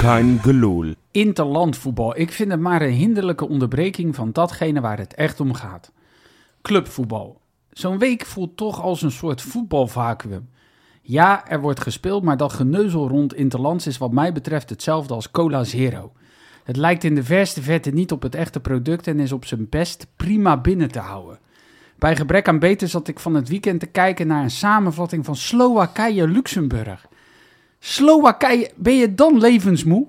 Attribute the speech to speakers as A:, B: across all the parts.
A: Kein geloel.
B: Interlandvoetbal. Ik vind het maar een hinderlijke onderbreking van datgene waar het echt om gaat. Clubvoetbal. Zo'n week voelt toch als een soort voetbalvacuüm. Ja, er wordt gespeeld, maar dat geneuzel rond Interlands is wat mij betreft hetzelfde als Cola Zero. Het lijkt in de verste verte niet op het echte product en is op zijn best prima binnen te houden. Bij gebrek aan beter zat ik van het weekend te kijken naar een samenvatting van Slowakije-Luxemburg. Slowakije, ben je dan levensmoe?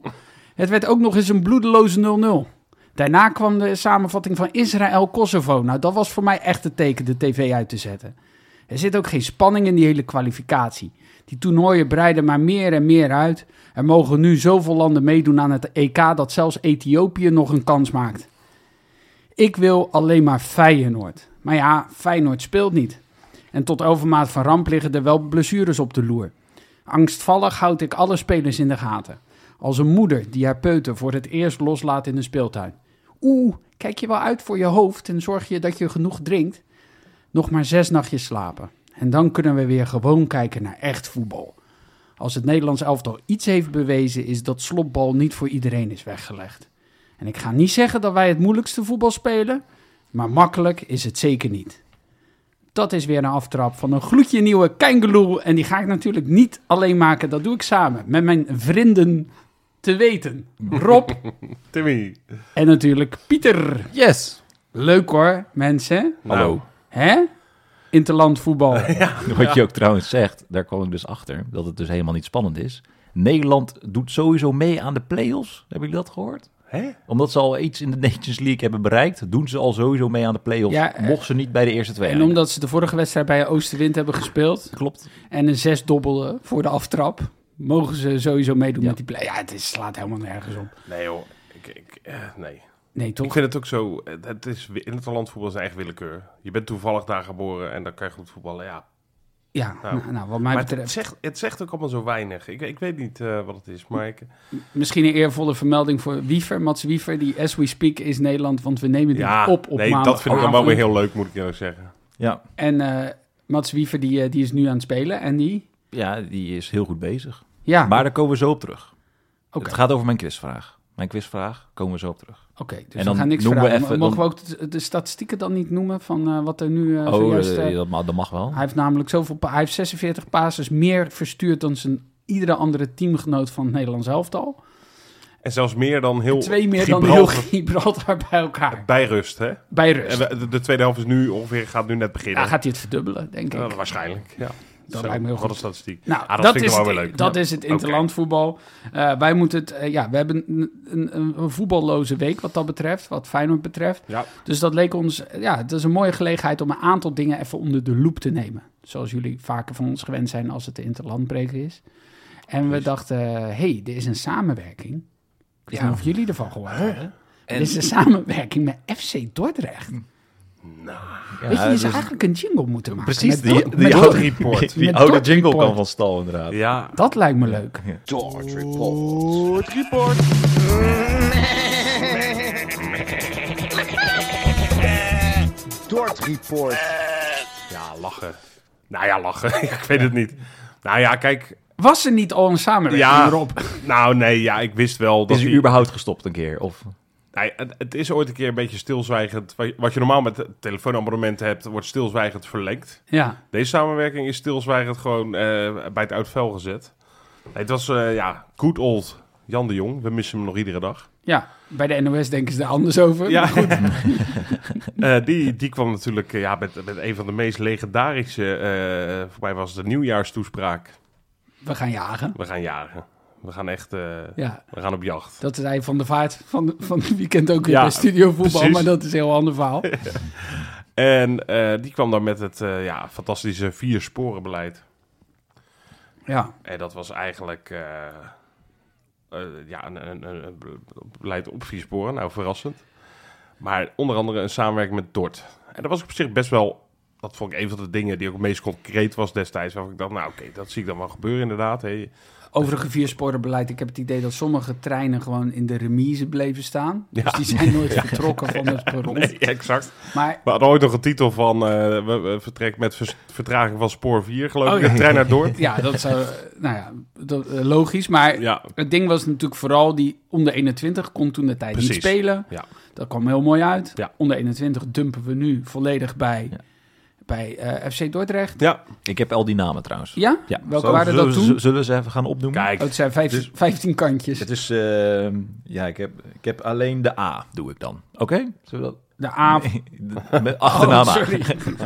B: Het werd ook nog eens een bloedeloze 0-0. Daarna kwam de samenvatting van Israël-Kosovo. Nou, dat was voor mij echt het teken de tv uit te zetten. Er zit ook geen spanning in die hele kwalificatie. Die toernooien breiden maar meer en meer uit. Er mogen nu zoveel landen meedoen aan het EK dat zelfs Ethiopië nog een kans maakt. Ik wil alleen maar Feyenoord. Maar ja, Feyenoord speelt niet. En tot overmaat van ramp liggen er wel blessures op de loer. Angstvallig houd ik alle spelers in de gaten. Als een moeder die haar peuter voor het eerst loslaat in de speeltuin. Oeh, kijk je wel uit voor je hoofd en zorg je dat je genoeg drinkt? Nog maar zes nachtjes slapen. En dan kunnen we weer gewoon kijken naar echt voetbal. Als het Nederlands elftal iets heeft bewezen, is dat slopbal niet voor iedereen is weggelegd. En ik ga niet zeggen dat wij het moeilijkste voetbal spelen, maar makkelijk is het zeker niet. Dat is weer een aftrap van een gloedje nieuwe Kengeloel. En die ga ik natuurlijk niet alleen maken, dat doe ik samen met mijn vrienden te weten. Rob
A: Timmy.
B: en natuurlijk Pieter.
C: Yes.
B: Leuk hoor, mensen.
A: Hallo.
B: Hè? Interland voetbal.
A: Nou.
C: Wat je ook trouwens zegt, daar kwam ik dus achter, dat het dus helemaal niet spannend is. Nederland doet sowieso mee aan de play-offs. Hebben jullie dat gehoord?
A: Hè?
C: Omdat ze al iets in de Nations League hebben bereikt, doen ze al sowieso mee aan de play-offs.
B: Ja, eh,
C: mocht ze niet bij de eerste twee.
B: En omdat ze de vorige wedstrijd bij Oosterwind hebben gespeeld
C: eindigen. Klopt.
B: en een zes dobbelen voor de aftrap, mogen ze sowieso meedoen met die play. Ja, het is, slaat helemaal nergens op.
A: Nee joh. Ik, ik, eh, nee.
B: Nee,
A: Ik
B: toch?
A: vind het ook zo. eh, Het is wi- in het landvoetbal zijn eigen willekeur. Je bent toevallig daar geboren en dan kan je goed voetballen. Ja.
B: Ja,
A: Nou,
B: nou, nou, wat mij
A: Maar het
B: betreft.
A: zegt, het zegt ook allemaal zo weinig. Ik, ik weet niet eh, wat het is, maar ik,
B: Misschien een eervolle vermelding voor Wiever. Mats Wiever, die as we speak is Nederland, want we nemen die
A: ja,
B: op op
A: nee,
B: maandag.
A: dat vind ik dan wel weer heel leuk, moet ik eerlijk zeggen.
C: Ja.
B: En eh, Mats Wiever, die, eh, die is nu aan het spelen en die...
C: ja, die is heel goed bezig.
B: Ja,
C: Maar daar komen we zo op terug.
B: Ah. Oké.
C: Het gaat over mijn quizvraag. Mijn quizvraag komen we zo op terug.
B: oké. dus
C: En
B: we
C: dan
B: gaan niks
C: noemen we
B: vragen.
C: even-
B: Mogen
C: dan-
B: we ook de, de statistieken dan niet noemen van eh, wat er nu eh,
C: oh,
B: zojuist... eh,
C: eh, dat, ma- dat mag wel.
B: Hij heeft namelijk zoveel, pa- hij heeft 46 passes meer verstuurd dan zijn iedere andere teamgenoot van het Nederlands elftal.
A: En zelfs meer dan heel
B: Twee meer dan heel
A: Gibraltar
B: Gibraltar bij elkaar.
A: bij rust, hè?
B: Bij rust.
A: En we- de, de tweede helft is nu ongeveer, gaat nu net beginnen.
B: Daar gaat hij het verdubbelen, denk ik.
A: Ja, waarschijnlijk, ja.
B: Dat
A: Zo,
B: lijkt me heel
A: Wat
B: goed.
A: een statistiek.
B: Nou,
A: Ah, dat,
B: dat,
A: vind ik
B: is
A: wel
B: het,
A: weer leuk.
B: dat
A: Ja.
B: is het
A: Oké.
B: interlandvoetbal. Eh, wij moeten het, eh, ja, we hebben een, een, een- een voetballoze week wat dat betreft, wat Feyenoord betreft.
A: Ja.
B: Dus dat leek ons, eh, ja, het is een mooie gelegenheid om een aantal dingen even onder de loep te nemen. Zoals jullie vaker van ons gewend zijn als het de interlandbreker is. En we dachten, hé, hey, er is een samenwerking. Ik weet
C: Ja.
B: niet of jullie ervan gehoord hebben. Er is een samenwerking met FC Dordrecht.
C: Nou. Ja,
B: Weet je, je
C: dus-
B: zou eigenlijk een jingle moeten maken.
C: precies,
B: met
C: die,
B: Dor-
C: die,
B: met
C: oude,
B: Dordrecht.
C: die, die
B: Met
C: oude
B: Dordrecht
C: jingle
B: Report.
C: kan van stal inderdaad.
A: Ja,
B: Dat lijkt me leuk.
A: ja, lachen. Nou ja, lachen. ik weet het niet. Nou ja, kijk.
B: Was er niet al een samenwerking,
A: Ja,
B: Rob?
A: nou nee, ja, ik wist wel dat
C: Is hij
A: die-
C: überhaupt gestopt een keer? Of...
A: Nee, het, het is ooit een keer een beetje stilzwijgend. Wat- Wat je normaal met telefoonabonnementen hebt, wordt stilzwijgend verlengd.
B: Ja.
A: Deze samenwerking is stilzwijgend gewoon eh, bij het oud vuil gezet. Nee, het was, eh, ja, good old Jan de Jong. We missen hem nog iedere dag.
B: Ja, bij de NOS denken ze daar anders over.
A: Ja, Eh, die, die kwam natuurlijk eh, ja, met, met een van de meest legendarische, eh voor mij was het de nieuwjaarstoespraak.
B: We gaan jagen.
A: We gaan jagen. We gaan echt, eh,
B: Ja,
A: we gaan op jacht.
B: dat is hij van de vaart van, van het weekend ook weer
A: Ja,
B: bij Studio Voetbal,
A: precies.
B: maar dat is een heel ander verhaal.
A: En eh, die kwam dan met het eh, ja, fantastische vier sporenbeleid.
B: Ja,
A: En dat was eigenlijk eh, eh, ja, een, een, een, een beleid op vier sporen. Nou, verrassend. Maar onder andere een samenwerking met Dort. En dat was op zich best wel... Dat vond ik een van de dingen die ook het meest concreet was destijds. Waarvan ik dacht, nou oké, dat zie ik dan wel gebeuren inderdaad. Hey,
B: Overige viersporenbeleid. Ik heb het idee dat sommige treinen gewoon in de remise bleven staan.
A: Ja.
B: Dus die zijn nooit vertrokken van het perron.
A: nee, exact.
B: Maar
A: We hadden ooit nog een titel van... eh, we, we vertrek met vers- vertraging van spoor 4, geloof ik.
B: Oh, ja.
A: De trein naar Dort.
B: ja, dat zou, nou ja, dat, eh, logisch. Maar
A: Ja,
B: het ding was natuurlijk vooral die onder 21 kon toen de tijd niet
A: Precies.
B: spelen.
A: Ja.
B: Dat kwam heel mooi uit.
A: Ja.
B: Onder 21 dumpen we nu volledig bij,
D: Ja.
B: bij eh, FC Dordrecht.
A: ja.
D: Ik heb al die namen trouwens.
B: Ja?
D: Ja.
B: Welke
A: Zo-
B: waren dat
D: Zullen we-
B: toen?
D: Zullen we ze even gaan opnoemen?
A: Kijk,
B: Oh, het zijn vijf,
D: Dus-
B: 15 kantjes.
D: Het is, eh, ja, ik heb, ik heb alleen de A, doe ik dan. Oké? Zullen we dat-
B: De A.
D: Nee, de- Met
B: Oh,
D: achternaam A.
B: sorry.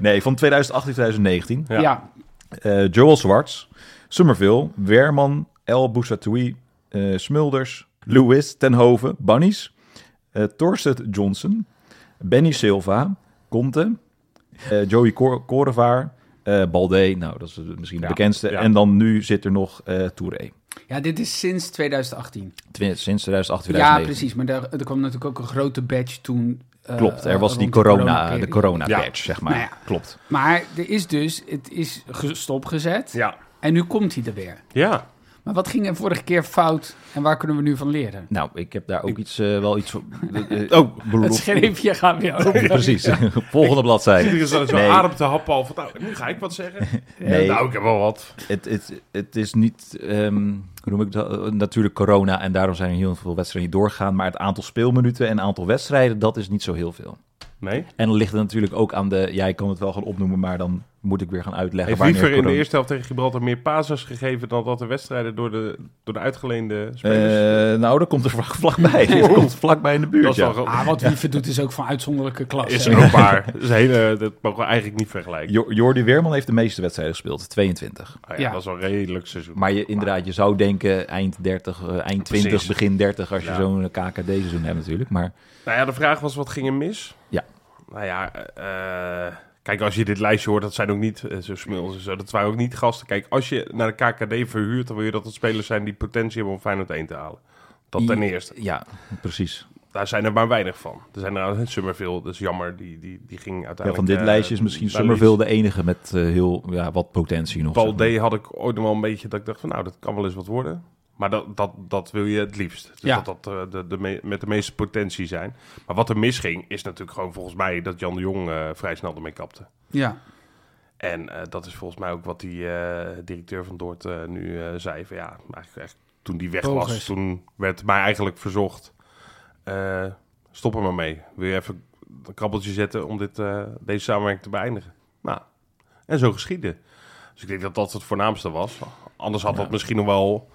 D: Nee, van 2018-2019.
A: Ja.
B: ja.
D: Eh, Joel Zwarts, Summerville, Werman, El Boussatoui, eh, Smulders, Lewis, Tenhoven, Bunnies, eh Torstedt Johnson, Benny Silva, Conte, eh, Joey Cor Korevaar, eh Balde, nou dat is misschien de
A: Ja,
D: bekendste.
A: ja.
D: En dan nu zit er nog eh Touré.
B: ja, dit is sinds 2018.
D: Twi- Sinds 2008, 2009.
B: Ja, precies. Maar daar, er kwam natuurlijk ook een grote badge toen. eh,
D: Klopt, er was
B: rond
D: die
B: de
D: corona, de
B: coronaperiode.
D: corona
A: Ja.
D: patch, zeg maar.
B: Nou ja.
D: Klopt.
B: Maar er is dus, het is ge- stopgezet.
A: ja.
B: En nu komt hij er weer.
A: Ja.
B: Maar wat ging er vorige keer fout en waar kunnen we nu van leren?
D: Nou, ik heb daar ook iets, eh, wel iets van. oh,
B: Het schreefje gaat weer over.
D: Precies. Volgende bladzijde.
A: Iedereen is zo
D: Nee.
A: adem te happen al van, nou, nu ga ik wat zeggen.
D: Nee.
A: Nou, ik heb wel wat.
D: Het, het, het is niet, ehm, hoe noem ik dat? Eh, Natuurlijk corona en daarom zijn er heel veel wedstrijden niet doorgegaan. Maar het aantal speelminuten en aantal wedstrijden, dat is niet zo heel veel.
A: Nee.
D: En dan ligt het natuurlijk ook aan de, ja, ik kan het wel gaan opnoemen, maar dan moet ik weer gaan uitleggen
A: Heeft
D: wanneer
A: Wiever in de
D: corona-
A: eerste helft tegen Gibraltar meer passes gegeven dan dat de wedstrijden door de, door de uitgeleende spelers?
D: Eh, nou, dat komt er vlak- vlakbij. Dat komt vlakbij in de buurt,
A: dat is
D: ja.
A: wel gro-
B: Ah, wat Wiever doet is ook van uitzonderlijke klasse.
A: is ook waar. Dat, is een hele, dat mogen we eigenlijk niet vergelijken.
D: Jo- Jordi Weerman heeft de meeste wedstrijden gespeeld, 22.
A: Ah ja,
B: Ja.
A: Dat is wel een redelijk seizoen.
D: Maar je, inderdaad, je zou denken eind 30, eh, eind 20,
A: Precies.
D: begin 30 als je
A: Ja.
D: zo'n KKD-seizoen hebt natuurlijk. Maar
A: Nou ja, de vraag was, wat ging er mis?
D: Ja.
A: Nou ja, eh, eh, kijk, als je dit lijstje hoort, dat zijn ook niet eh, zo smils en zo. Dat waren ook niet gasten. Kijk, als je naar de KKD verhuurt, dan wil je dat het spelers zijn die potentie hebben om Feyenoord 1 te halen. Dat ten
D: Die-
A: eerste.
D: ja, precies.
A: Daar zijn er maar weinig van. Er zijn er Summerville, dat is jammer. Die, die, die ging uiteindelijk...
D: Ja, van dit
A: eh,
D: lijstje is misschien
A: naar
D: Summerville de enige met eh, heel ja, wat potentie nog.
A: Paul
D: zeg
A: D.
D: maar.
A: had ik ooit nog wel een beetje dat ik dacht van nou, dat kan wel eens wat worden. Maar dat, dat, dat wil je het liefst. Dus
B: Ja.
A: dat dat eh, de, de me- met de meeste potentie zijn. Maar wat er misging is natuurlijk gewoon volgens mij dat Jan de Jong eh, vrij snel ermee kapte.
B: Ja.
A: En eh, dat is volgens mij ook wat die eh, directeur van Doort eh, nu eh, zei. Van, ja, eigenlijk, echt, toen die weg was,
B: Progress.
A: toen werd mij eigenlijk verzocht... eh, stop er maar mee. Wil je even een krabbeltje zetten om dit, eh, deze samenwerking te beëindigen? Nou, en zo geschiedde. Dus ik denk dat dat het voornaamste was. Anders had dat misschien nog wel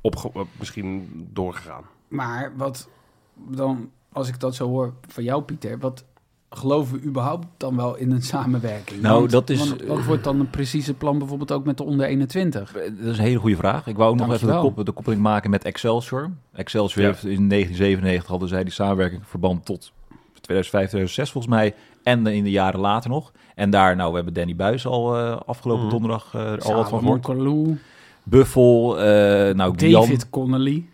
A: opge- eh, misschien doorgegaan.
B: Maar wat dan, als ik dat zo hoor van jou, Pieter, wat geloven we überhaupt dan wel in een samenwerking?
D: Nou,
B: Want-
D: dat is-
B: want wat wordt dan een precieze plan bijvoorbeeld ook met de onder 21?
D: Dat is een hele goede vraag. Ik wou ook nog even de,
B: Dankjewel.
D: kop- de koppeling maken met Excelsior. Excelsior
A: Ja.
D: heeft in 1997 hadden zij die samenwerking verband tot 2005, 2006 volgens mij. En in de jaren later nog. En daar, nou, we hebben Danny Buis al eh, afgelopen
A: Mhm.
D: donderdag eh, er al wat van gehoord.
B: Kalou,
D: Buffel, eh nou, Jan.
B: David Connolly.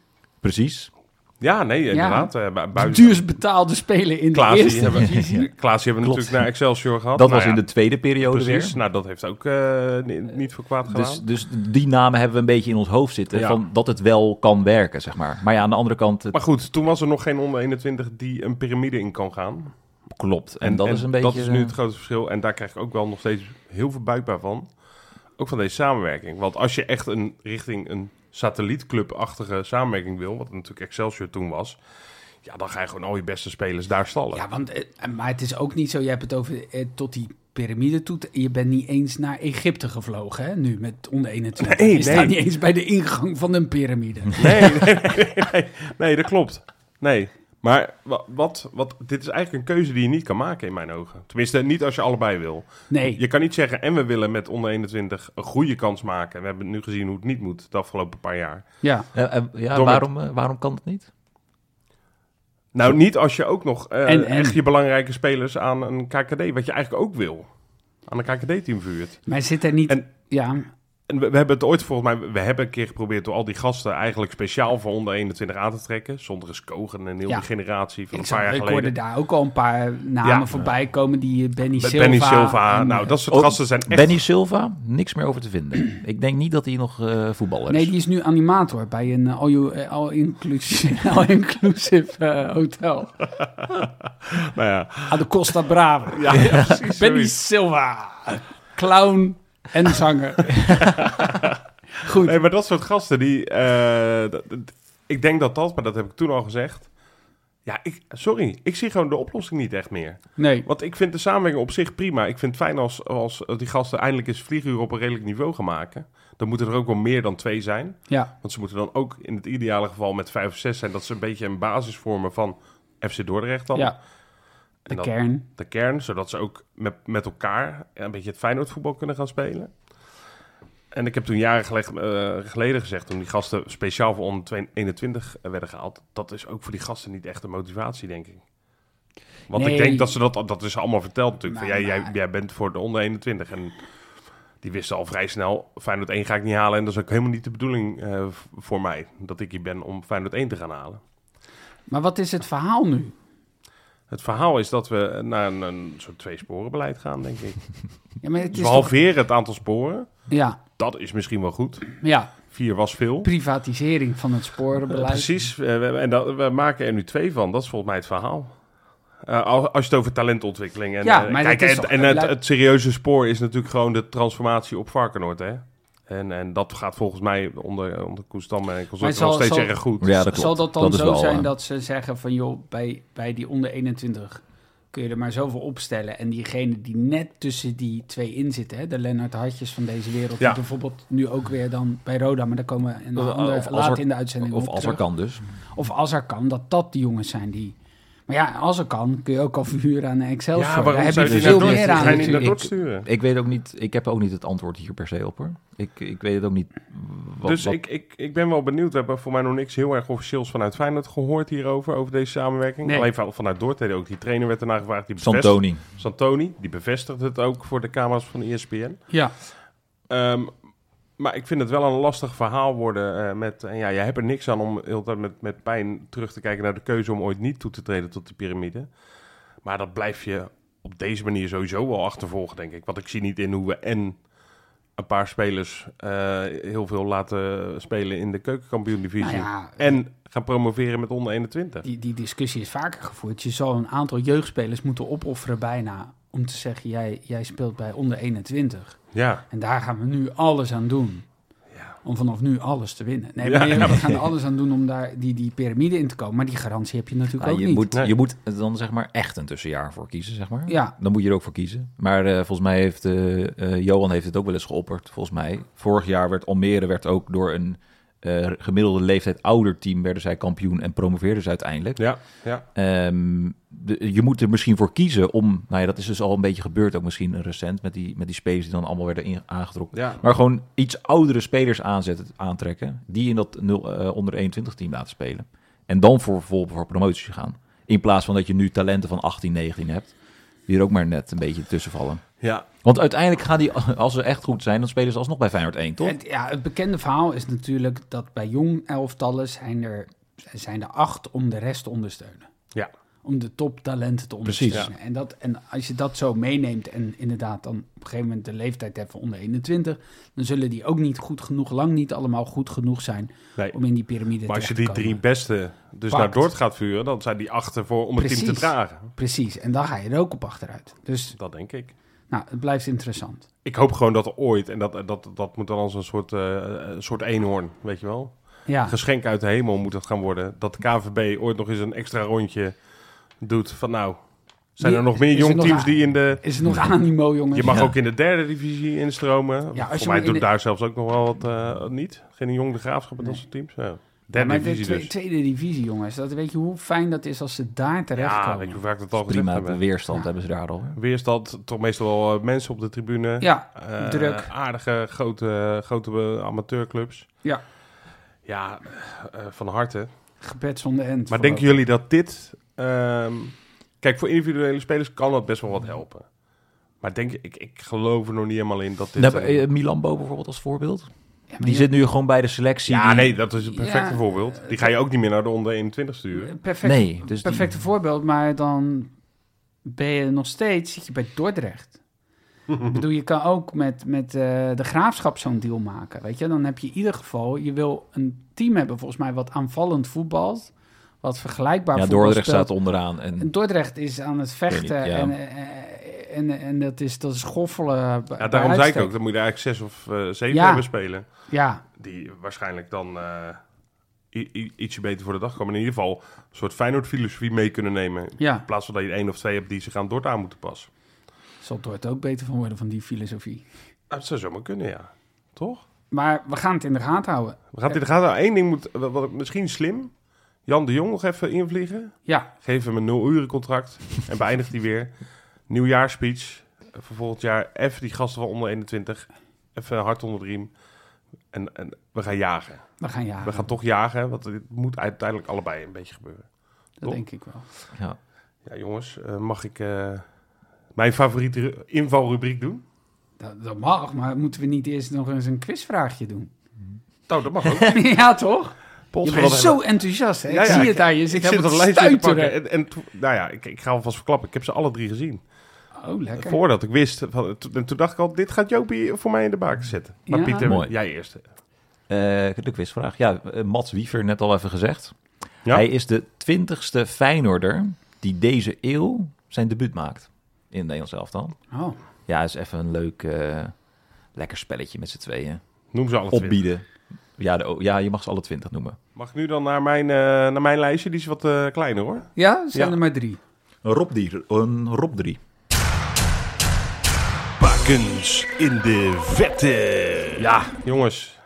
D: Precies.
A: Ja, nee, inderdaad. eh, bu-
B: De
A: buiten-
B: duurst betaalde speler in de
A: Klaas, die
B: eerste
A: hebben-
B: divisie.
A: Klaas die hebben we
D: Klopt.
A: natuurlijk naar Excelsior gehad.
D: Dat was in de tweede periode
A: Nou Precies,
D: weer.
A: nou dat heeft ook eh, ni- niet voor kwaad gedaan.
D: Dus, dus die namen hebben we een beetje in ons hoofd zitten.
A: Ja.
D: Van dat het wel kan werken, zeg maar. Maar ja, aan de andere kant, het
A: Maar goed, toen was er nog geen onder 21 die een piramide in kan gaan.
D: klopt. En, dat is een beetje...
A: dat is nu het grote verschil. En daar krijg ik ook wel nog steeds heel veel buikbaar van. Ook van deze samenwerking. Want als je echt een, richting een satellietclubachtige samenwerking wil, wat natuurlijk Excelsior toen was, ja, dan ga je gewoon al je beste spelers daar stallen.
B: Ja, want, eh, maar het is ook niet zo, je hebt het over eh, tot die piramide toe. te- Je bent niet eens naar Egypte gevlogen, hè, nu met onder 21.
A: Nee,
B: je staat
A: nee.
B: niet eens bij de ingang van een piramide.
A: Nee, nee, nee, nee, nee. Nee, dat klopt. Nee. Maar wa- wat, wat, dit is eigenlijk een keuze die je niet kan maken in mijn ogen. Tenminste, niet als je allebei wil.
B: Nee,
A: Je kan niet zeggen, en we willen met onder 21 een goede kans maken. We hebben nu gezien hoe het niet moet de afgelopen paar jaar.
B: ja.
D: Eh, eh, ja,
A: Door met-
D: waarom, eh, waarom kan het niet?
A: Nou, niet als je ook nog eh,
B: En- en-
A: echt je belangrijke spelers aan een KKD, wat je eigenlijk ook wil, aan een KKD-team vuurt.
B: Maar zit er niet...
A: En-
B: ja,
A: En we, we hebben het ooit volgens mij, we hebben een keer geprobeerd door al die gasten eigenlijk speciaal voor onder 21 aan te trekken. Zonder is Kogen en heel
B: Ja.
A: die generatie van
B: Ik,
A: een paar
B: zag,
A: jaar
B: ik
A: geleden.
B: hoorde daar ook al een paar namen
A: Ja.
B: voorbij komen. Die eh, Benny
A: Met
B: Silva.
A: Benny Silva.
B: en,
A: nou,
B: eh,
A: dat soort
D: Oh,
A: gasten zijn echt...
D: Benny Silva, niks meer over te vinden. Ik denk niet dat hij nog eh, voetballer is.
B: Nee, die is nu animator bij een eh, all you- eh, all-inclusive all-inclusive, eh, hotel.
A: Nou ja,
B: Aan de Costa Brava.
A: ja, ja, precies.
B: Benny
A: zoiets.
B: Silva. Clown en zanger. Goed.
A: Nee, maar dat soort gasten, die... eh, dat- dat- ik denk dat dat, maar dat heb ik toen al gezegd. Ja, ik, sorry, ik zie gewoon de oplossing niet echt meer.
B: Nee.
A: Want ik vind de samenwerking op zich prima. Ik vind het fijn als, als die gasten eindelijk eens vlieguren op een redelijk niveau gaan maken. Dan moeten er ook wel meer dan twee zijn.
B: Ja.
A: Want ze moeten dan ook in het ideale geval met vijf of zes zijn. Dat ze een beetje een basis vormen van FC Dordrecht dan.
B: ja. De
A: en dan
B: kern.
A: de kern. Zodat ze ook met, met elkaar een beetje het Feyenoord voetbal kunnen gaan spelen. En ik heb toen jaren geleg- eh, geleden gezegd, toen die gasten speciaal voor onder 2 21 werden gehaald. Dat is ook voor die gasten niet echt een motivatie, denk ik. Want
B: Nee.
A: ik denk dat ze dat, dat is allemaal verteld natuurlijk.
B: Maar-
A: van, jij, jij,
B: maar-
A: jij bent voor de onder 21. En die wisten al vrij snel, Feyenoord 1 ga ik niet halen. En dat is ook helemaal niet de bedoeling eh, v- voor mij. Dat ik hier ben om Feyenoord 1 te gaan halen.
B: Maar wat is het verhaal nu?
A: Het verhaal is dat we naar een, een soort tweesporenbeleid gaan, denk ik.
B: Ja, maar het is
A: Dus we
B: toch...
A: halveren het aantal sporen.
B: Ja,
A: Dat is misschien wel goed.
B: ja.
A: Vier was veel.
B: Privatisering van het sporenbeleid.
A: Precies. Eh, we- En dat, we maken er nu twee van. Dat is volgens mij het verhaal. Eh, al- als je het over talentontwikkeling en,
B: Ja,
A: eh,
B: maar
A: kijk,
B: dat is
A: en,
B: toch-
A: en het,
B: luid-
A: het serieuze spoor is natuurlijk gewoon de transformatie op Varkenoord, hè? En, en dat gaat volgens mij onder, onder Koestam en Consort
B: zal-
A: nog steeds
B: zal-
A: erg goed.
D: Ja, dat klopt.
B: Zal dat dan
D: is
B: zo
D: wel,
B: zijn
D: eh,
B: dat ze zeggen van joh, bij, bij die onder 21 kun je er maar zoveel opstellen. En diegene die net tussen die twee in zitten, hè, de Lennart Hartjes van deze wereld,
A: Ja.
B: die bijvoorbeeld nu ook weer dan bij Roda, maar daar komen we een
D: Of-
B: ander
D: Eh, of als
B: laat
D: er-
B: in de uitzending
D: Of
B: op
D: als er
B: terug.
D: kan dus.
B: Of als er kan, dat dat die jongens zijn die... Maar ja, als er kan, kun je ook al verhuren aan Excel.
A: Ja, waarom
B: daar heb
A: zou
B: je
A: je die
B: veel
A: naar
B: meer
A: Dordt-
B: aan
A: ga je niet naar
B: natuurlijk.
A: Dordt sturen?
D: Ik weet ook niet, ik heb ook niet het antwoord hier per se op hoor. Ik, ik weet het ook niet. Wat,
A: dus
D: wat-
A: Ik, ik, ik ben wel benieuwd. We hebben voor mij nog niks heel erg officieels vanuit Feyenoord gehoord hierover, over deze samenwerking.
B: Nee.
A: Alleen van- vanuit Dordrecht ook. Die trainer werd ernaar gevraagd. Die bevestigt-
D: Santoni.
A: Santoni, die bevestigt het ook voor de camera's van E ESPN.
B: Ja,
A: Ehm, maar ik vind het wel een lastig verhaal worden. eh, met, en ja, jij hebt er niks aan om heel de tijd met, met pijn terug te kijken naar de keuze om ooit niet toe te treden tot de piramide. Maar dat blijf je op deze manier sowieso wel achtervolgen, denk ik. Want ik zie niet in hoe we en een paar spelers eh, heel veel laten spelen in de keukenkampioen-divisie.
B: nou ja,
A: En gaan promoveren met onder 21.
B: die, die discussie is vaker gevoerd. Je zal een aantal jeugdspelers moeten opofferen bijna om te zeggen, jij, jij speelt bij onder 21.
A: Ja,
B: En daar gaan we nu alles aan doen.
A: Ja.
B: Om vanaf nu alles te winnen. Nee,
A: Ja,
B: maar
A: ja.
B: we gaan er alles aan doen om daar die, die piramide in te komen. Maar die garantie heb je natuurlijk
D: Nou,
B: ook
D: je,
B: niet.
D: moet,
A: Nee.
D: je moet er dan zeg maar echt een tussenjaar voor kiezen, zeg maar.
B: Ja.
D: Dan moet je er ook voor kiezen. Maar eh, volgens mij heeft eh, eh, Johan heeft het ook wel eens geopperd, volgens mij. Vorig jaar werd Almere werd ook door een eh, gemiddelde leeftijd ouder team werden zij kampioen en promoveerden ze uiteindelijk.
A: ja, ja.
D: Ehm, de- je moet er misschien voor kiezen om, nou ja, dat is dus al een beetje gebeurd ook misschien recent met die, met die spelers die dan allemaal werden in- aangetrokken.
A: ja.
D: Maar gewoon iets oudere spelers aanzetten, aantrekken, die in dat 0, eh, onder 21 team laten spelen. En dan voor, voor, voor promotie gaan. In plaats van dat je nu talenten van 18, 19 hebt, die er ook maar net een beetje tussen vallen.
A: ja.
D: Want uiteindelijk gaan die, als ze echt goed zijn, dan spelen ze alsnog bij Feyenoord 1, toch?
B: Het, ja, het bekende verhaal is natuurlijk dat bij jong elftallen zijn er, zijn er acht om de rest te ondersteunen.
A: Ja.
B: Om de toptalenten te
D: Precies.
B: ondersteunen. en, dat, en als je dat zo meeneemt en inderdaad dan op een gegeven moment de leeftijd hebt van onder 21, dan zullen die ook niet goed genoeg, lang niet allemaal goed genoeg zijn
A: Nee.
B: om in die piramide
A: Maar als je
B: terecht
A: die
B: te
A: drie
B: komen.
A: beste dus
B: Pakt.
A: naar Dort gaat vuren, dan zijn die achter voor om het team te
B: Precies.
A: dragen.
B: Precies, en dan ga je er ook op achteruit. Dus
A: Dat denk ik.
B: nou, het blijft interessant.
A: Ik hoop gewoon dat er ooit, en dat, dat, dat moet dan als een soort, eh, een soort eenhoorn, weet je wel.
B: Ja,
A: Een geschenk uit de hemel moet dat gaan worden. Dat de KVB ooit nog eens een extra rondje doet van nou, zijn
B: Die-
A: er nog meer
B: is er
A: jong
B: nog
A: teams
B: aan-
A: die in de...
B: is het nog animo, jongens?
A: Je mag
D: Ja.
A: ook in de derde divisie instromen.
B: Ja, als je
A: Voor
B: maar
A: mij
B: in
A: doet
B: de-
A: daar zelfs ook nog wel wat eh, niet. Geen jong de graafschap en dat
B: Nee.
A: soort teams. Ja.
B: Ja,
A: Derde
B: maar de
A: divisie
B: twe-
A: dus.
B: tweede divisie, jongens. Dat, weet je hoe fijn dat is als ze daar
A: Ja,
B: terechtkomen?
A: weet je hoe vaak dat al gezegd
D: Prima
A: hebben.
D: weerstand
B: Ja.
D: hebben ze daar al. hè?
A: Weerstand, toch meestal wel eh, mensen op de tribune.
B: Ja,
A: Eh,
B: Druk.
A: Aardige, grote, grote eh, amateurclubs.
B: Ja.
A: Ja, eh, eh, van harte. Maar
B: gebed zonder end. vooral.
A: denken jullie dat dit... ehm, kijk, voor individuele spelers kan dat best wel wat helpen. Maar Maar denk, je- ik, ik geloof er nog niet helemaal in dat dit...
D: Nou,
A: eh,
D: eh, Milambo bijvoorbeeld als voorbeeld.
B: Ja, maar
D: Die
B: je-
D: zit nu gewoon bij de selectie.
A: ja,
D: die-
A: nee, dat is een perfecte
B: Ja.
A: voorbeeld. Die ga je ook niet meer naar de onder 21 sturen.
B: Perfect,
D: Nee, dus die-
B: perfecte voorbeeld, maar dan ben je nog steeds zit je bij Dordrecht. Ik bedoel, je kan ook met, met eh, de graafschap zo'n deal maken. Weet je, dan heb je in ieder geval, je wil een team hebben, volgens mij, wat aanvallend voetbalt, wat vergelijkbaar
D: Ja,
B: voetbal
D: Dordrecht
B: speelt.
D: staat onderaan. En,
B: En Dordrecht is aan het vechten
D: Weet niet, ja.
B: en, eh, en, en dat is, dat is goffelen. bij-
A: Ja,
B: bij
A: daarom zei ik
B: uitstek.
A: ook, dan moet je er eigenlijk zes of eh, zeven
B: Ja.
A: hebben spelen.
B: Ja,
A: Die waarschijnlijk dan eh, i- i- ietsje beter voor de dag komen. En in ieder geval een soort Feyenoord-filosofie mee kunnen nemen.
B: ja.
A: In plaats van dat je er één of twee hebt die zich aan Dordt aan moeten passen.
B: Zal Dordrecht ook beter van worden van die filosofie.
A: Ah, Dat zou zomaar kunnen, ja. Toch?
B: Maar we gaan het in de gaten houden.
A: We gaan dit gaat nou één ding moet, wat, wat misschien slim. Jan de Jong nog even invliegen.
B: Ja,
A: Geef hem een nul uren contract en beëindigt die weer. Nieuwjaarspeech eh, voor volgend jaar. Even die gasten van onder 21. Even hard onder de riem. En, en we gaan jagen.
B: we gaan jagen.
A: We gaan toch jagen, want dit moet uiteindelijk allebei een beetje gebeuren.
B: dat denk ik wel.
D: ja.
A: Ja, jongens, eh, mag ik eh, mijn favoriete ru- invalrubriek doen?
B: Dat, dat mag, maar moeten we niet eerst nog eens een quizvraagje doen?
A: Nou, dat mag ook.
B: ja, toch?
A: Pols
B: Je
A: van wat
B: bent
A: hebben-
B: zo enthousiast, hè?
A: Ja,
B: ik
A: ja,
B: zie
A: ik-
B: het aan je. Zit
A: Ik zit
B: helemaal
A: dat
B: te
A: lijstje te pakken.
B: stuiteren.
A: En, en toen- nou ja, ik, ik ga alvast verklappen. Ik heb ze alle drie gezien.
B: Oh, lekker.
A: Voordat ik wist. Van, to- en toen dacht ik al, dit gaat Jopie voor mij in de baak zetten. Maar
B: Ja.
A: Pieter,
D: Mooi.
A: jij eerst.
D: Eh, de quizvraag. Ja, eh, Mats Wiever, net al even gezegd.
A: Ja.
D: Hij is de twintigste Feyenoorder die deze eeuw zijn debuut maakt in het Nederlands elftal.
B: Oh,
D: Ja, is even een leuk, eh, lekker spelletje met z'n tweeën.
A: Noem ze alle twee.
D: Opbieden. Ja, de, o- ja, je mag ze alle twintig noemen.
A: Mag ik nu dan naar mijn, eh, naar mijn lijstje? Die is wat eh, kleiner hoor.
B: ja? Zijn
A: Ja.
B: er maar drie.
D: Een Rob, die, een Rob 3.
E: Bakens in de vette.
A: Ja, jongens.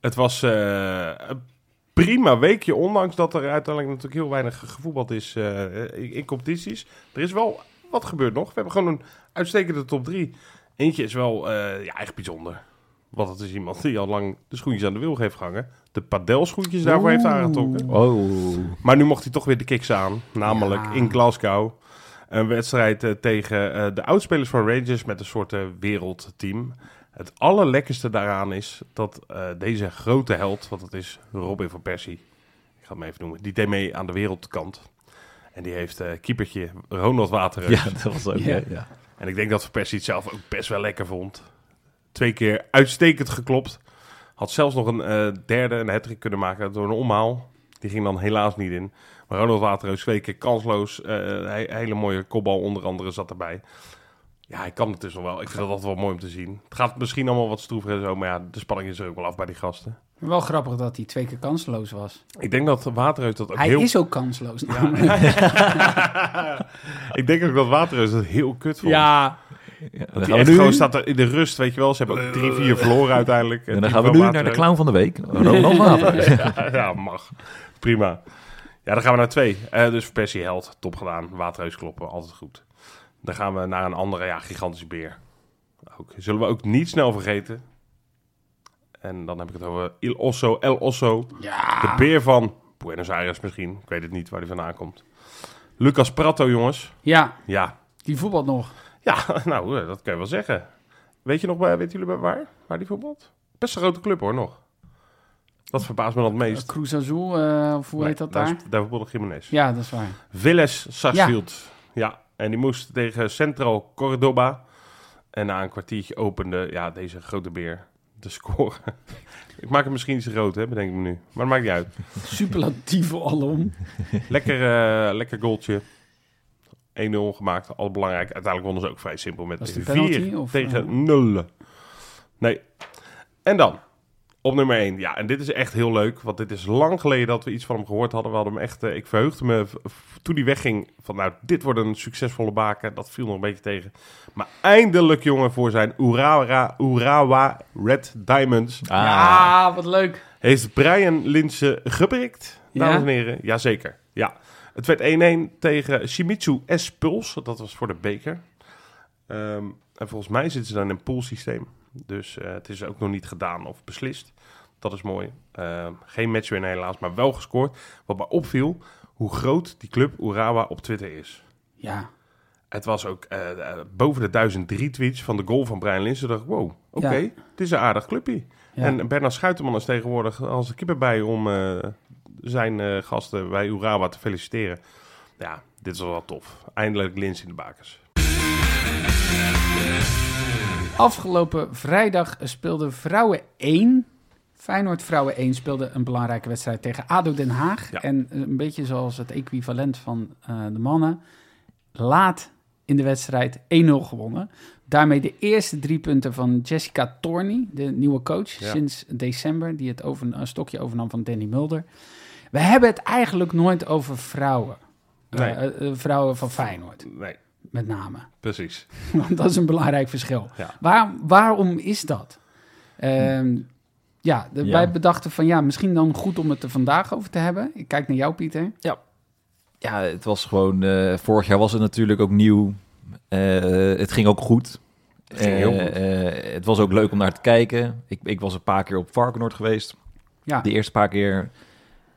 A: Het was eh, een prima weekje, ondanks dat er uiteindelijk natuurlijk heel weinig gevoetbald is eh, in, in competities. Er is wel wat gebeurd nog. We hebben gewoon een uitstekende top 3. Eentje is wel eh, ja, echt bijzonder. Want het is iemand die al lang de schoentjes aan de wilg heeft gehangen. De padelschoentjes daarvoor heeft aangetrokken.
D: Oh.
A: Maar nu mocht hij toch weer de kicks aan. Namelijk
B: Ja.
A: in Glasgow. Een wedstrijd eh, tegen eh, de oudspelers van Rangers met een soort eh, wereldteam. Het allerlekkerste daaraan is dat eh, deze grote held, want dat is Robin van Persie, ik ga hem even noemen, die deed mee aan de wereldkant. En die heeft eh, keepertje Ronald Waterreus.
D: Ja, dat was ook.
B: Ja.
D: Ja. Ja.
A: En ik denk dat Van Persie het zelf ook best wel lekker vond. Twee keer uitstekend geklopt. Had zelfs nog een eh, derde, een hat kunnen maken door een omhaal. Die ging dan helaas niet in. Maar Ronald Waterreus twee keer kansloos. Eh, he- hele mooie kopbal onder andere zat erbij. Ja, hij kan het dus nog wel. Ik vind dat altijd wel mooi om te zien. Het gaat misschien allemaal wat stroever en zo. Maar ja, de spanning is er ook wel af bij die gasten.
B: Wel grappig dat hij twee keer kansloos was.
A: Ik denk dat Waterreus dat ook
B: Hij
A: heel...
B: is ook kansloos.
A: Ja.
B: namelijk.
A: ik denk ook dat Waterreus dat heel kut vond.
B: ja.
D: Dan
A: Die
D: gaan we
A: echt
D: nu,
A: gewoon staat er in de rust, weet je wel. Ze hebben ook drie, vier verloren uiteindelijk.
D: en Eh, dan gaan we nu naar de clown van de week. Ronald Waterreus.
A: Ja, ja, mag. Prima. Ja, dan gaan we naar twee. Eh, dus Persie held, top gedaan. Waterhuis kloppen, altijd goed. Dan gaan we naar een andere, ja, gigantische beer. Ook, zullen we ook niet snel vergeten. En dan heb ik het over Il Osso, El Osso. De beer van Buenos Aires misschien. Ik weet het niet waar die vandaan komt. Lucas Prato, jongens.
B: ja,
A: Ja,
B: die voetbalt nog.
A: ja, nou, eh, dat kan je wel zeggen. Weet je nog, bij- weten jullie bij waar? Waar die voetbalt? Best een grote club hoor, nog. Dat verbaast me dan het meest.
B: Cruz Azul, eh, of hoe heet dat daar?
A: Daar voetbalde Jiménez.
B: Ja, dat is waar.
A: Villes Sarsfield. Ja. en die moest tegen Central Cordoba. En na een kwartiertje opende ja, deze grote beer de score. ik maak hem misschien iets te groot, hè, bedenk ik me nu. Maar dat maakt niet uit.
B: Superlatief alom.
A: Lekker, eh, lekker goaltje. 1-0 gemaakt, al belangrijk. Uiteindelijk wonnen ze ook vrij simpel
B: Was
A: met
B: het een
A: 4
B: penalty, of, eh?
A: tegen 0. Nee. En dan, op nummer 1. Ja, en dit is echt heel leuk, want dit is lang geleden dat we iets van hem gehoord hadden. We hadden hem echt, eh, ik verheugde me v- v- toen hij wegging van nou, dit wordt een succesvolle baken. Dat viel nog een beetje tegen. Maar eindelijk, jongen, voor zijn Urawa, Urawa Red Diamonds
D: Ah,
B: Ah, wat leuk.
A: heeft Brian Linse geprikt, dames
B: Ja?
A: en heren. Jazeker, ja. Het werd 1-1 tegen Shimizu S. Puls. Dat was voor de beker. Ehm, en volgens mij zitten ze dan in een poolsysteem. Dus eh, het is ook nog niet gedaan of beslist. Dat is mooi. Ehm, geen matchwinner helaas, maar wel gescoord. Wat mij opviel, hoe groot die club Urawa op Twitter is.
B: Ja,
A: Het was ook eh, eh, boven de 1003 tweets van de goal van Brian Linsen. dacht ik, wow, oké,
B: Ja.
A: het is een aardig clubje.
B: Ja.
A: En Bernard Schuiterman is tegenwoordig als de keeper bij om eh, zijn eh, gasten bij Urawa te feliciteren. Ja, dit is wel wat tof. Eindelijk Lins in de bakers.
B: Afgelopen vrijdag speelde Vrouwen 1. Feyenoord Vrouwen 1 speelde een belangrijke wedstrijd tegen ADO Den Haag.
A: Ja.
B: En eh, een beetje zoals het equivalent van eh, de mannen. Laat in de wedstrijd 1-0 gewonnen. Daarmee de eerste drie punten van Jessica Torney, de nieuwe coach
A: Ja.
B: sinds december. Die het over, een stokje overnam van Danny Mulder. We hebben het eigenlijk nooit over vrouwen. Eh,
A: Nee.
B: eh, vrouwen van Feyenoord,
A: Nee,
B: met name.
A: precies.
B: Want dat is een belangrijk verschil.
A: Ja.
B: Waar- waarom is dat? Ehm, ja, de-
D: Ja.
B: wij bedachten van ja, misschien dan goed om het er vandaag over te hebben. Ik kijk naar jou, Pieter.
D: Ja, het was gewoon... eh, vorig jaar was het natuurlijk ook nieuw. Eh, het ging ook goed.
A: ging heel
D: Eh,
A: goed.
D: eh, het was ook leuk om naar te kijken. Ik, ik was een paar keer op Varkenoord geweest.
B: Ja,
D: De eerste paar keer...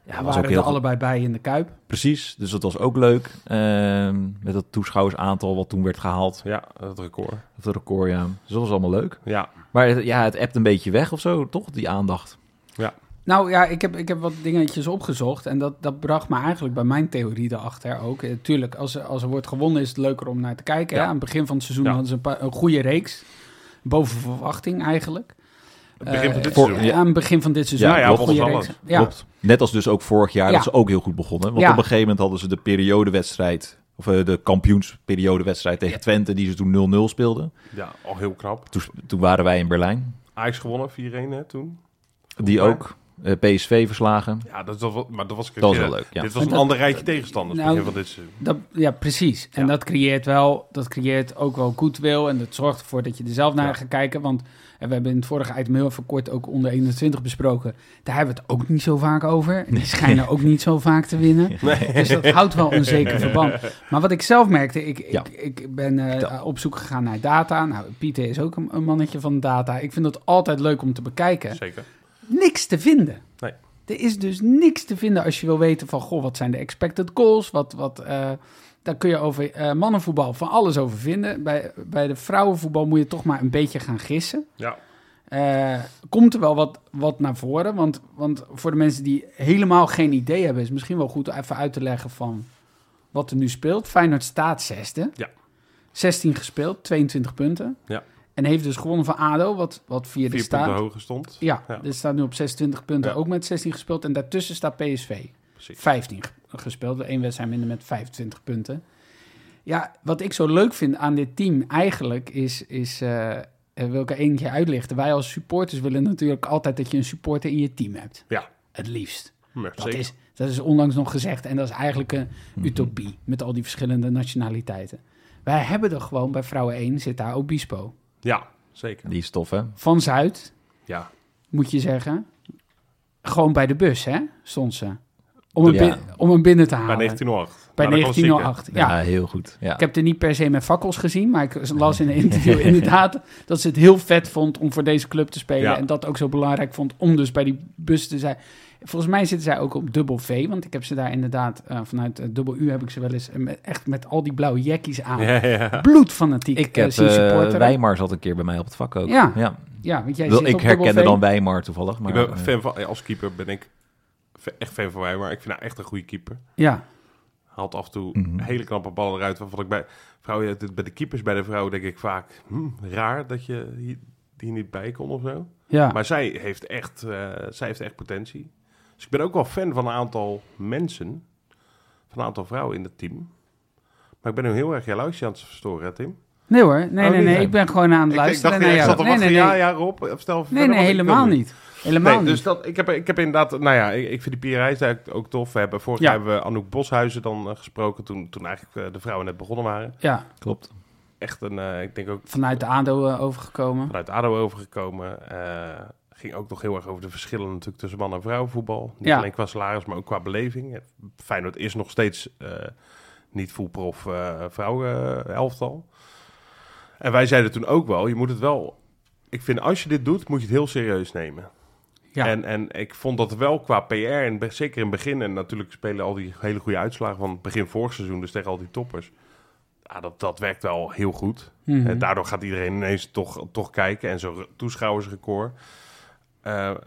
D: Ja,
B: we
D: was
B: waren
D: ook
B: er
D: heel
B: allebei bij in de Kuip.
D: Precies, dus dat was ook leuk. Ehm, met dat toeschouwersaantal wat toen werd gehaald.
A: Ja, dat record.
D: Of het record, ja. Dus dat was allemaal leuk.
A: Ja,
D: Maar het- ja, het ebt een beetje weg of zo, toch? Die aandacht.
B: Nou ja, ik heb, ik heb wat dingetjes opgezocht en dat, dat bracht me eigenlijk bij mijn theorie erachter ook. Eh, tuurlijk, als er, als er wordt gewonnen is het leuker om naar te kijken. hè. Aan het begin van het seizoen
A: Ja.
B: hadden ze een, paar, een goede reeks, boven verwachting eigenlijk.
A: het begin van
B: Eh,
A: dit
D: voor-
A: seizoen. Nou
D: ja.
B: Aan het begin van dit seizoen.
A: Ja, ja,
B: een
A: volgens
B: goede
A: alles.
B: reeks. Ja.
D: Klopt. Net als dus ook vorig jaar,
B: Ja.
D: dat ze ook heel goed begonnen. Want
B: Ja.
D: op een gegeven moment hadden ze de periodewedstrijd... of eh, de kampioensperiodewedstrijd tegen Twente... die ze toen 0-0 speelden.
A: Ja, al heel knap.
D: Toen, toen waren wij in Berlijn.
A: Ajax gewonnen, 4-1 hè, toen.
D: Die
A: mij.
D: ook eh, PSV verslagen.
A: Ja, dat, dat, was- maar dat was, ik
D: Dat was
A: eerder.
D: wel leuk, ja.
A: Dit was een
B: Maar dat-
A: ander rijtje tegenstanders
B: Nou,
A: begin van dit seizoen.
B: Dat, ja, precies. En
A: Ja.
B: dat creëert wel, dat creëert ook wel goodwill. En dat zorgt ervoor dat je er zelf naar
A: Ja.
B: gaat kijken. Want eh, we hebben in het vorige item heel even kort ook onder 21 besproken. Daar hebben we het ook niet zo vaak over. En die schijnen ook niet zo vaak te winnen. Dus dat houdt wel een zeker verband. Maar wat ik zelf merkte, ik,
D: Ja.
B: ik, ik ben eh, op zoek gegaan naar data. Nou, Pieter is ook een, een mannetje van data. Ik vind dat altijd leuk om te bekijken
A: Zeker.
B: niks te vinden.
A: Nee.
B: Er is dus niks te vinden als je wil weten van... Goh, wat zijn de expected goals? Wat, wat, eh, daar kun je over eh, mannenvoetbal van alles over vinden. Bij, bij de vrouwenvoetbal moet je toch maar een beetje gaan gissen.
A: Ja,
B: Eh, komt er wel wat, wat naar voren? Want, want voor de mensen die helemaal geen idee hebben... is misschien wel goed even uit te leggen van wat er nu speelt. Feyenoord staat zesde.
A: Ja.
B: 16 gespeeld, 22 punten.
A: Ja.
B: En heeft dus gewonnen van ADO, wat, wat vierde
A: vier
B: staat.
A: punten hoger stond.
B: Ja,
A: Ja.
B: dit staat nu op 26 punten,
A: Ja.
B: ook met 16 gespeeld. En daartussen staat PSV,
A: Precies.
B: 15 ge- gespeeld. Eén wedstrijd minder met 25 punten. Ja, wat ik zo leuk vind aan dit team eigenlijk is... is eh, eh, wil ik er eentje uitlichten. Wij als supporters willen natuurlijk altijd dat je een supporter in je team hebt.
A: Ja,
B: Het liefst.
A: maar
B: Dat
A: zeker.
B: is, dat is onlangs nog gezegd. En dat is eigenlijk een utopie met al die verschillende nationaliteiten. Wij hebben er gewoon, bij Vrouwen 1 zit daar Obispo.
A: Ja, zeker.
D: Die is tof, hè?
B: Van Zuid, Ah,
A: Ja,
B: moet je zeggen. Gewoon bij de bus, hè? Stond ze. Om hem,
D: Ja.
B: bin- om hem binnen te halen.
A: bij nou, 1908.
B: Bij
A: Na de klassieker.
B: 1908, ja.
D: heel goed. Ja.
B: Ik heb er niet per se met fakkels gezien, maar ik las in een interview inderdaad dat ze het heel vet vond om voor deze club te spelen.
A: Ja.
B: En dat ook zo belangrijk vond om dus bij die bus te zijn. Volgens mij zitten zij ook op dubbel V, want ik heb ze daar inderdaad eh, vanuit eh, dubbel U heb ik ze wel eens eh, met- echt met al die blauwe jackies aan.
A: Ja, ja.
B: Bloedfanatiek
D: Ik
B: eh,
D: heb
B: zien
D: eh
B: supporteren.
D: Wijmar zat een keer bij mij op het vak ook.
B: Ja. ja, want jij
D: Wel,
B: zit
D: ik
B: op dubbel
D: herkende
B: V.
D: dan Wijmar toevallig. Maar,
A: Ik ben
D: eh,
A: fan van, ja, als keeper ben ik fa- echt fan van mij, maar ik vind haar echt een goede keeper.
B: Ja,
A: Haalt af en toe
D: Mhm.
A: hele knappe ballen eruit. Waarvan ik bij, vrouwen, ja, dit- bij de keepers, bij de vrouwen denk ik vaak... hm, raar dat je hier, hier niet bij kon of zo.
B: ja.
A: Maar zij heeft, echt, eh, zij heeft echt potentie. Dus ik ben ook wel fan van een aantal mensen. Van een aantal vrouwen in het team. Maar ik ben nu heel erg jaloers aan het verstoren, hè, Tim.
B: Nee hoor, nee,
A: Oh,
B: nee,
A: niet?
B: nee. Ik ben gewoon aan het
A: ik dacht,
B: luisteren naar
A: ik
B: jou.
A: zat er
B: nee,
A: wat
B: nee, nee.
A: ja, ja, Rob. Stel
B: nee, nee, helemaal niet. Helemaal
A: Nee, dus
B: niet.
A: dat, ik, heb, ik heb inderdaad, nou ja, ik, ik vind die Pierreis eigenlijk ook tof. We hebben, vorig
B: Ja.
A: jaar hebben we Anouk Boshuizen dan eh, gesproken toen, toen eigenlijk eh, de vrouwen net begonnen waren.
B: Ja,
D: Klopt.
A: Echt een, eh, ik denk ook
B: vanuit de ADO eh, overgekomen.
A: vanuit ADO overgekomen. Eh, ging ook nog heel erg over de verschillen natuurlijk tussen man- en vrouwenvoetbal. Niet
B: Ja.
A: alleen qua salaris, maar ook qua beleving. Feyenoord is nog steeds eh, niet voetprof eh vrouwenelftal. En wij zeiden toen ook wel, je moet het wel... Ik vind, als je dit doet, moet je het heel serieus nemen.
B: Ja.
A: En, en ik vond dat wel qua PR, en be- zeker in het begin... en natuurlijk spelen al die hele goede uitslagen van het begin vorig seizoen... dus tegen al die toppers... ja, dat, dat werkt wel heel goed.
B: Mhm.
A: En daardoor gaat iedereen ineens toch, toch kijken. En zo'n toeschouwersrecord. Eh, ehm,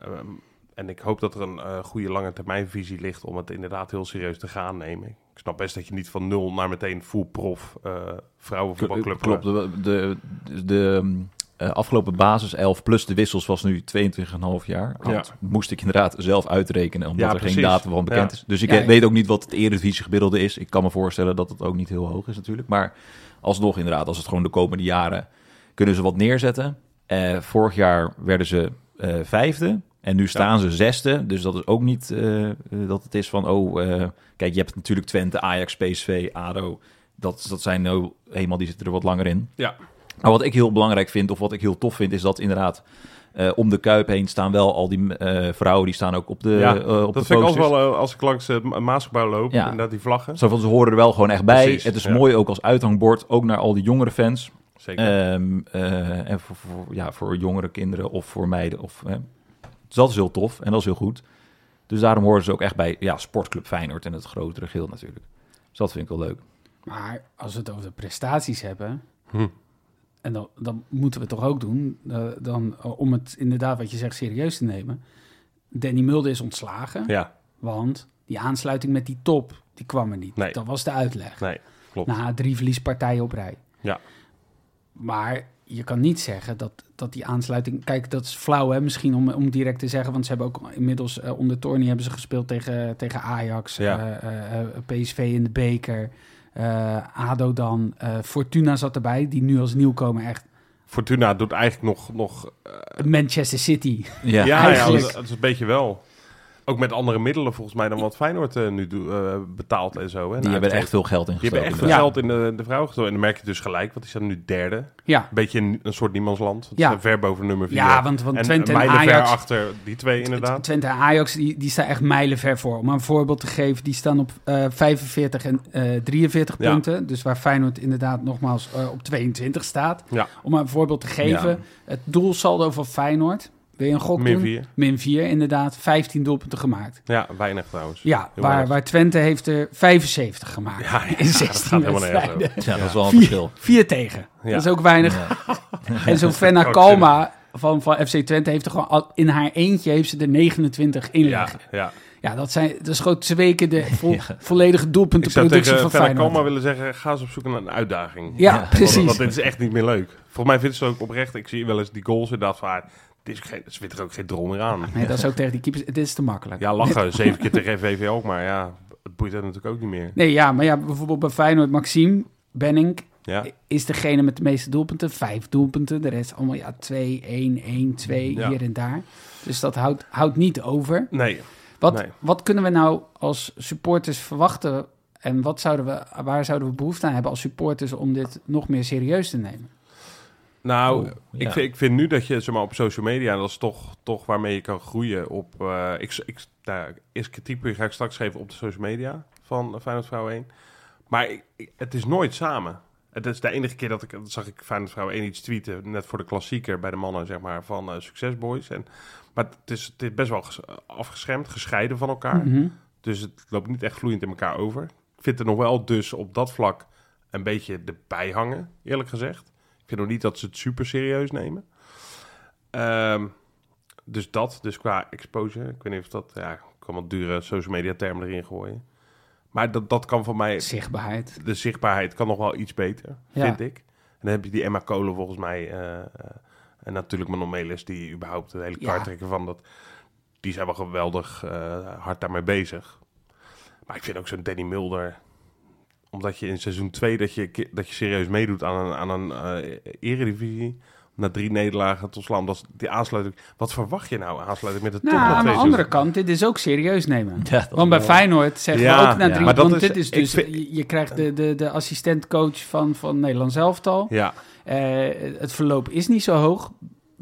A: en ik hoop dat er een eh, goede lange termijnvisie ligt om het inderdaad heel serieus te gaan nemen. Ik snap best dat je niet van nul naar meteen full prof eh vrouwenvoetbalclub
D: eh, Klopt, de,
A: eh.
D: de, de, de, eh, afgelopen basis 11 plus de wissels was nu 22,5 jaar. Dat moest ik inderdaad zelf uitrekenen, omdat
A: Ja,
D: er geen
A: precies.
D: datum van bekend
A: Ja.
D: is. Dus ik
B: Ja,
D: he-
B: ik-
D: weet ook niet wat het Eredivisie gemiddelde is. Ik kan me voorstellen dat het ook niet heel hoog is natuurlijk. Maar alsnog inderdaad, als het gewoon de komende jaren kunnen ze wat neerzetten. Eh, vorig jaar werden ze eh, vijfde en nu staan ze zesde. Dus dat is ook niet eh, eh, dat het is van, oh, eh, kijk, je hebt natuurlijk Twente, Ajax, PSV, ADO. Dat, dat zijn nou eenmaal, die zitten er wat langer in.
A: Ja.
D: Maar wat ik heel belangrijk vind, of wat ik heel tof vind, is dat inderdaad eh, om de Kuip heen staan wel al die eh, vrouwen, die staan ook op de,
A: Ja,
D: eh, op
A: dat
D: de
A: vind ik
D: posters.
A: altijd wel eh, als ik langs het Ma- Maasgebouw loop.
D: Ja.
A: en Inderdaad, die vlaggen.
D: Zo van, ze horen er wel gewoon echt bij.
A: Precies,
D: het is
A: ja.
D: mooi ook als uithangbord, ook naar al die jongere fans.
A: Zeker.
D: Ehm, eh, en voor, voor, ja, voor jongere kinderen of voor meiden. Of, hè. Dus dat is heel tof en dat is heel goed. Dus daarom horen ze ook echt bij ja, Sportclub Feyenoord en het grotere geel natuurlijk. Dus dat vind ik wel leuk.
B: Maar als we het over de prestaties hebben,
A: Hm.
B: en dat, dat moeten we toch ook doen, eh, dan, eh, om het inderdaad wat je zegt serieus te nemen. Danny Mulder is ontslagen,
A: ja,
B: want die aansluiting met die top, die kwam er niet.
A: Nee.
B: Dat was de uitleg.
A: nee, klopt.
D: Nou.
B: Na drie verliespartijen op rij.
A: Ja.
B: Maar je kan niet zeggen dat, dat die aansluiting... Kijk, dat is flauw hè, misschien om, om direct te zeggen. Want ze hebben ook inmiddels eh, onder Torny hebben ze gespeeld tegen, tegen Ajax.
A: Ja.
B: eh, eh, eh, PSV in de beker. eh, ADO dan. eh, Fortuna zat erbij, die nu als nieuwkomer echt...
A: Fortuna doet eigenlijk nog... nog
B: Manchester City.
A: ja,
D: Ja,
A: ja,
B: eigenlijk.
A: dat, dat is een beetje wel. Ook met andere middelen volgens mij dan wat Feyenoord eh, nu doe- eh, betaalt en zo. Hè,
D: die
A: Nou,
D: hebben er
A: het-
D: echt veel geld in
A: Die hebben
D: gestoken.
A: echt veel
B: Ja.
A: geld in de, de vrouw gestoken. En dan merk je dus gelijk, want die staan nu derde. Een
B: Ja,
A: beetje een, een soort niemandsland. want
B: Ja.
A: ze staan ver boven nummer 4.
B: ja want, want
A: en
B: Twente en
A: mijlen ver
B: Ajax...
A: achter die twee inderdaad.
B: Twente en Ajax, die, die staan echt mijlenver voor. Om een voorbeeld te geven, die staan op eh, 45 en eh, 43
A: Ja.
B: punten. Dus waar Feyenoord inderdaad nogmaals eh, op 22 staat.
A: Ja.
B: Om maar een voorbeeld te geven, het doelsaldo van Feyenoord. Wil je een gok
A: Min
B: doen?
A: 4.
B: Min 4, inderdaad. 15 doelpunten gemaakt.
A: Ja, weinig trouwens.
B: Ja,
A: Heel
B: waar,
A: weinig.
B: waar Twente heeft er 75 gemaakt
A: Ja, ja,
B: in
A: dat
B: 16
A: gaat helemaal nergens
B: wedstrijden.
A: over.
D: Ja, dat is wel een
B: Vier,
D: verschil.
B: vier tegen.
A: Ja.
B: Dat is ook weinig. En zo'n Fenna
A: Ook
B: Kalma van, van FC Twente heeft er gewoon... al- In haar eentje heeft ze er 29 in
A: Ja,
B: liggen.
A: ja.
B: Ja, dat, zijn, dat is gewoon twee keer de vo- volledige doelpuntenproductie van
A: Fennec
B: Feyenoord.
A: Kalma willen zeggen, ga eens op zoek naar een uitdaging.
B: Ja,
D: Ja,
A: Want, want
B: precies.
A: dit is echt niet meer leuk. Volgens mij vindt ze ook oprecht, ik zie wel eens die goals inderdaad van haar. Het is geen, ze vindt er ook geen drol meer aan.
B: Nee, dat is ook tegen die keepers. Dit is te makkelijk.
A: Ja, lachen. Zeven keer tegen VV ook, maar ja, het boeit haar natuurlijk ook niet meer.
B: Nee, ja, maar ja, bijvoorbeeld bij Feyenoord, Maxime Benning
A: Ja,
B: is degene met de meeste doelpunten. Vijf doelpunten. De rest allemaal ja, 2, 1, 1, 2,
A: Ja.
B: hier en daar. Dus dat houdt, houdt niet over.
A: nee.
B: Wat,
A: Nee.
B: wat kunnen we nou als supporters verwachten? En wat zouden we, waar zouden we behoefte aan hebben als supporters om dit nog meer serieus te nemen?
A: Nou,
D: Oh,
A: ik,
D: ja.
A: vind, ik vind nu dat je zeg maar, op social media, dat is toch, toch waarmee je kan groeien. Op, eh, ik, ik, nou, eerst kritiekpunt ga ik straks geven op de social media van eh, Feyenoord Vrouw 1. Maar ik- ik- het is nooit samen. Het is de enige keer dat ik, dat zag ik Feyenoord Vrouw 1 iets tweeten, net voor de klassieker bij de mannen, zeg maar, van eh, Succes Boys. En, maar het is, het is best wel ges- afgeschermd, gescheiden van elkaar.
B: Mhm.
A: Dus het loopt niet echt vloeiend in elkaar over. Ik vind er nog wel dus op dat vlak een beetje de bijhangen, eerlijk gezegd. Ik vind nog niet dat ze het super serieus nemen. Ehm, dus dat, dus qua exposure. Ik weet niet of dat, ja, ik kan wat dure social media termen erin gooien. Maar dat, dat kan voor mij,
B: Zichtbaarheid.
A: de zichtbaarheid kan nog wel iets beter,
B: Ja.
A: vind ik. En dan heb je die Emma Kolen volgens mij. eh, eh, en natuurlijk Manon Melis, die überhaupt de hele
B: Ja.
A: kaart trekken van dat. Die zijn wel geweldig eh, hard daarmee bezig. Maar ik vind ook zo'n Danny Mulder. Omdat je in seizoen 2 dat je, ki- dat je serieus meedoet aan een, aan een eh, eredivisie. Na drie nederlagen tot slaan. Dat is die aansluiting. Wat verwacht je nou? Aansluiting met de top
B: Nou,
A: na
B: aan de
A: twee
B: andere
A: seizoenen?
B: kant, dit is ook serieus nemen.
D: Ja, dat is
B: Want bij
D: wel-
B: Feyenoord zeggen we
A: Ja,
B: ook na
D: ja.
B: drie.
A: Maar dat
B: want
A: is-
B: dit is
A: ik
B: dus,
A: vind-
B: je, je krijgt de, de, de assistentcoach van, van Nederlands elftal.
A: Ja,
B: Eh, het verloop is niet zo hoog.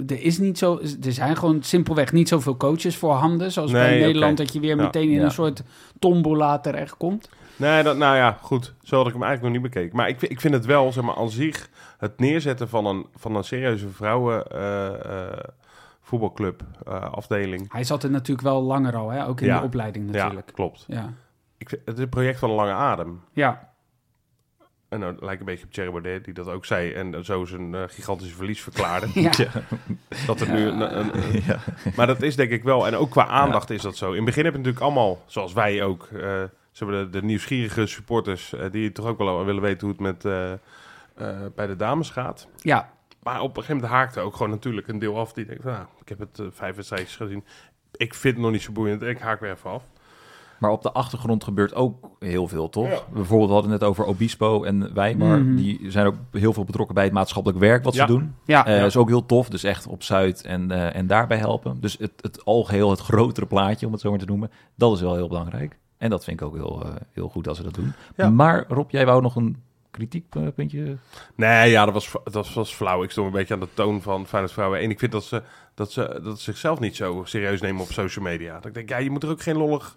B: Er, is niet zo, er zijn gewoon simpelweg niet zoveel coaches voorhanden. Zoals
A: Nee,
B: bij
A: oké.
B: Nederland, dat je weer
A: Ja.
B: meteen in
D: Ja.
B: een soort tombola terechtkomt.
A: Nee, dat, nou ja, goed. Zo had ik hem eigenlijk nog niet bekeken. Maar ik, vind- ik vind het wel, zeg maar, aan zich... het neerzetten van een, van een serieuze vrouwen... eh, eh, voetbalclub, eh, afdeling.
B: Hij zat er natuurlijk wel langer al, hè? ook in
A: Ja.
B: de opleiding
A: Ja,
B: natuurlijk.
A: klopt.
B: Ja. Ja.
A: Ik, vind- het is een project van een lange adem.
B: ja.
A: En nou lijkt een beetje op Thierry Baudet, die dat ook zei. En eh, zo zijn eh, gigantische verlies verklaarde.
B: Ja.
A: Dat er nu een, een- een- Maar dat is denk ik wel. En ook qua aandacht is dat zo. In het begin heb je natuurlijk allemaal, zoals wij ook, eh, ze hebben de, de nieuwsgierige supporters eh, die toch ook wel willen weten hoe het met, eh, eh, bij de dames gaat.
B: ja,
A: Maar op een gegeven moment haakte ook gewoon natuurlijk een deel af die denkt, van, nou, ik heb het eh, vijf wedstrijdjes gezien. Ik vind het nog niet zo boeiend. Ik haak weer even af.
D: Maar op de achtergrond gebeurt ook heel veel, toch?
A: Ja.
D: Bijvoorbeeld, we hadden het net over Obispo en wij, maar
B: Mhm.
D: die zijn ook heel veel betrokken bij het maatschappelijk werk wat
A: Ja.
D: ze doen.
B: ja.
D: Eh, Dat is ook heel tof, dus echt op Zuid en, eh, en daarbij helpen. Dus het, het algeheel, het grotere plaatje, om het zo maar te noemen, dat is wel heel belangrijk. En dat vind ik ook heel, eh, heel goed als ze dat doen.
A: Ja.
D: Maar Rob, jij wou nog een kritiekpuntje? eh,
A: Nee, ja, dat was, dat was flauw. Ik stond een beetje aan de toon van Feyenoord Vrouwen. En ik vind dat ze, dat ze dat ze zichzelf niet zo serieus nemen op social media. Dat ik denk, ja, je moet er ook geen lollig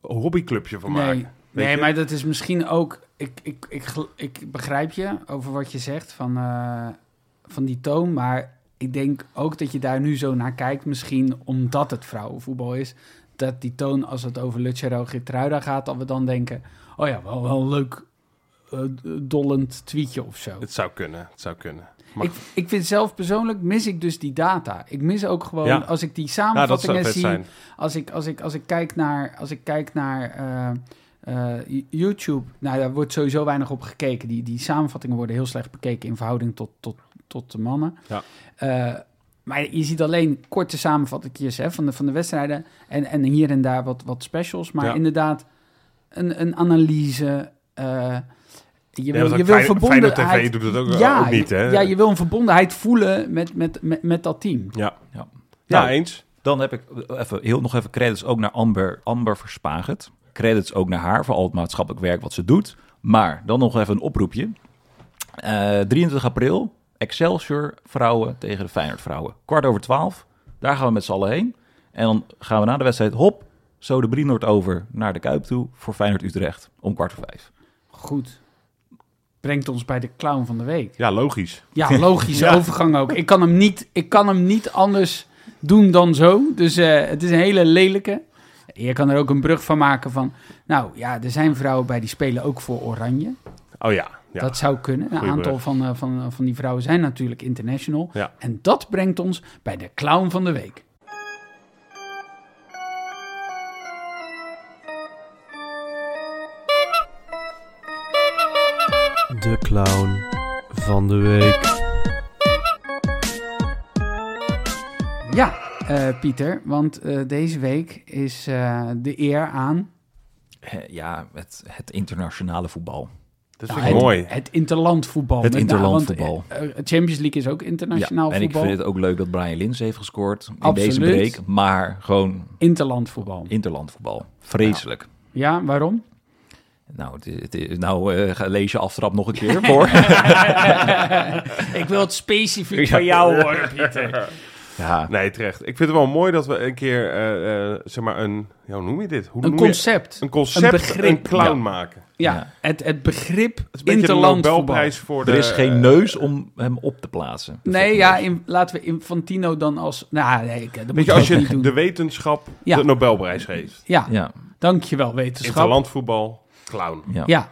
A: hobbyclubje van maken.
B: Nee, nee
A: je?
B: maar dat is misschien ook. Ik, ik, ik, gel- ik begrijp je over wat je zegt van, eh, van die toon. Maar ik denk ook dat je daar nu zo naar kijkt. Misschien omdat het vrouwenvoetbal is. Dat die toon, als het over Lucero Gertruida gaat, dat we dan denken: oh ja, wel, wel een leuk eh, dollend tweetje of zo.
A: Het zou kunnen, het zou kunnen. Maar
B: Ik, ik vind zelf persoonlijk mis ik dus die data. Ik mis ook gewoon
A: Ja.
B: als ik die
A: nou, dat
B: samenvattingen
A: zou vet
B: zie
A: zijn.
B: als ik, als ik, als ik kijk naar, als ik kijk naar eh, eh, YouTube, nou, daar wordt sowieso weinig op gekeken. Die, die samenvattingen worden heel slecht bekeken in verhouding tot, tot, tot de mannen.
A: Ja.
B: Eh, maar je ziet alleen korte samenvattingen hè, van, de, van de wedstrijden. En, en hier en daar wat, wat specials. Maar
A: Ja.
B: inderdaad, een, een analyse. eh, je
A: Nee,
B: wil,
A: want
B: je wil
A: Feyenoord- Feyenoord
B: verbondenheid.
A: TV doet dat ook,
B: ja,
A: ook niet, hè?
B: Ja, je wil een verbondenheid voelen met, met, met, met dat team.
A: Ja,
D: Ja.
A: ja
D: Nou,
A: eens.
D: Dan heb ik even, heel, nog even credits ook naar Amber, Amber Verspagert. Credits ook naar haar voor al het maatschappelijk werk wat ze doet. Maar dan nog even een oproepje. Eh, 23 april, Excelsior vrouwen tegen de Feyenoord vrouwen. Kwart over twaalf, daar gaan we met z'n allen heen. En dan gaan we na de wedstrijd, hop, zo de Brienoord over naar de Kuip toe voor Feyenoord Utrecht om kwart voor vijf.
B: Goed. Brengt ons bij de clown van de week.
A: Ja, logisch.
B: Ja, logische overgang ook. Ik kan, hem niet, ik kan hem niet anders doen dan zo. Dus eh, het is een hele lelijke. Je kan er ook een brug van maken van... Nou ja, er zijn vrouwen bij die spelen ook voor Oranje.
A: Oh ja, ja.
B: Dat zou kunnen. Een
A: Goeie
B: aantal
A: brug.
B: van, eh, van, van die vrouwen zijn natuurlijk international.
A: Ja.
B: En dat brengt ons bij de clown van de week.
F: De clown van de week.
B: Ja, eh, Pieter, want eh, deze week is eh, de eer aan...
D: Eh, ja, het, het internationale voetbal.
A: dat
B: Ja,
A: vind ik
B: het,
A: mooi.
B: Het interlandvoetbal.
D: Het
B: met name,
D: interlandvoetbal.
B: want, eh, eh, Champions League is ook internationaal
D: ja, en ik
B: voetbal.
D: vind het ook leuk dat Brian Lins heeft gescoord in
B: Absoluut.
D: deze break. Maar gewoon
B: Interlandvoetbal.
D: Interlandvoetbal. Vreselijk.
B: Ja, waarom?
D: Nou, het is, het is, nou eh, ga- lees je aftrap nog een keer voor.
B: ik wil het specifiek van jou horen, Pieter.
D: ja.
A: Nee, terecht. Ik vind het wel mooi dat we een keer, eh, eh, zeg maar, een... Ja, hoe noem je dit? Hoe
B: Een
A: noem je-
B: concept.
A: Een concept, een,
B: begrip.
A: clown
D: Ja.
A: maken.
B: Ja,
D: Ja.
B: Het, het begrip
A: Het is een beetje een
B: interlandvoetbal.
A: Nobelprijs voor de... eh,
D: Er is geen neus om hem op te plaatsen.
B: Nee, ja, in- laten we Infantino dan als... Nou, nee, ik- dat moet
A: Weet je,
B: je
A: als
B: ook niet
A: je
B: doen.
A: de wetenschap
B: Ja.
A: de Nobelprijs geeft.
B: Ja,
D: Ja,
B: dankjewel wetenschap.
A: Interlandvoetbal, clown.
D: ja.
B: Ja.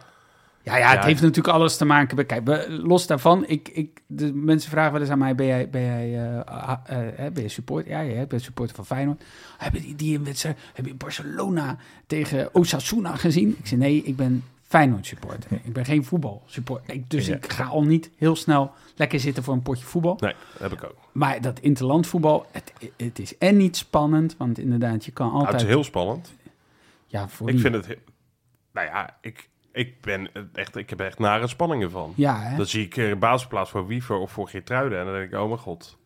B: Ja, ja, het
A: Ja.
B: heeft natuurlijk alles te maken. met- Kijk, we- los daarvan, ik, ik, de mensen vragen wel eens aan mij: ben jij, ben jij, eh, ah, eh, hè, ben je support? Ja, ja, ik ben supporter van Feyenoord. Hebben die, die een wedstrijd? Heb je Barcelona tegen Osasuna gezien? Ik zei: nee, ik ben Feyenoord supporter. Ik ben geen voetbal supporter. Ik- Dus
D: Ja.
B: ik ga al niet heel snel lekker zitten voor een potje voetbal.
A: Nee, dat heb ik ook.
B: Maar dat interlandvoetbal, het, het is en niet spannend, want inderdaad, je kan
A: Nou, het
B: altijd.
A: is heel spannend.
B: Ja, voor
A: Ik
B: wie?
A: vind het... he- Nou ja, ik, ik, ben het echt, ik heb er echt nare spanningen van.
B: Ja, hè?
A: Dan zie ik eh, een basisplaats voor Wiever of voor Geertruiden. En dan denk ik, oh mijn god.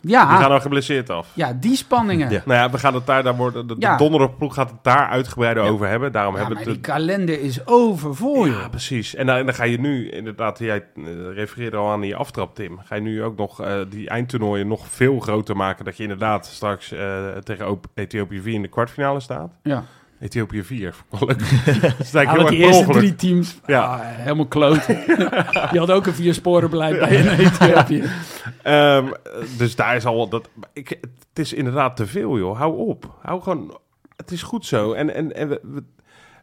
B: ja,
A: Die gaan nou geblesseerd af.
B: Ah. ja, die spanningen.
D: Ja.
A: Nou ja, we gaan het daar, daar worden, de, de
B: Ja.
A: donderdagploeg gaat het daar uitgebreider
D: Ja.
A: over hebben. Daarom
B: Ja,
A: hebben
B: maar
A: we
B: die
A: het...
B: kalender is overvol,
A: Ja, precies. En dan, en dan ga je nu, inderdaad, jij eh, refereerde al aan die aftrap, Tim. Ga je nu ook nog eh, die eindtoernooien nog veel groter maken. Dat je inderdaad straks eh, tegen Op- Ethiopië 4 in de kwartfinale staat.
B: Ja.
A: Ethiopië 4, vond ik wel leuk. Dat is
B: Ja, want
A: eigenlijk heel erg
B: die
A: per
B: eerste
A: ongeluk.
B: drie teams,
A: Ja.
B: ah, helemaal kloot. Je had ook een vier sporen beleid bij in Ethiopië.
A: Ehm, dus daar is al dat. Ik, het is inderdaad te veel, joh. Hou op. Hou gewoon. Het is goed zo. En, en, en we- we-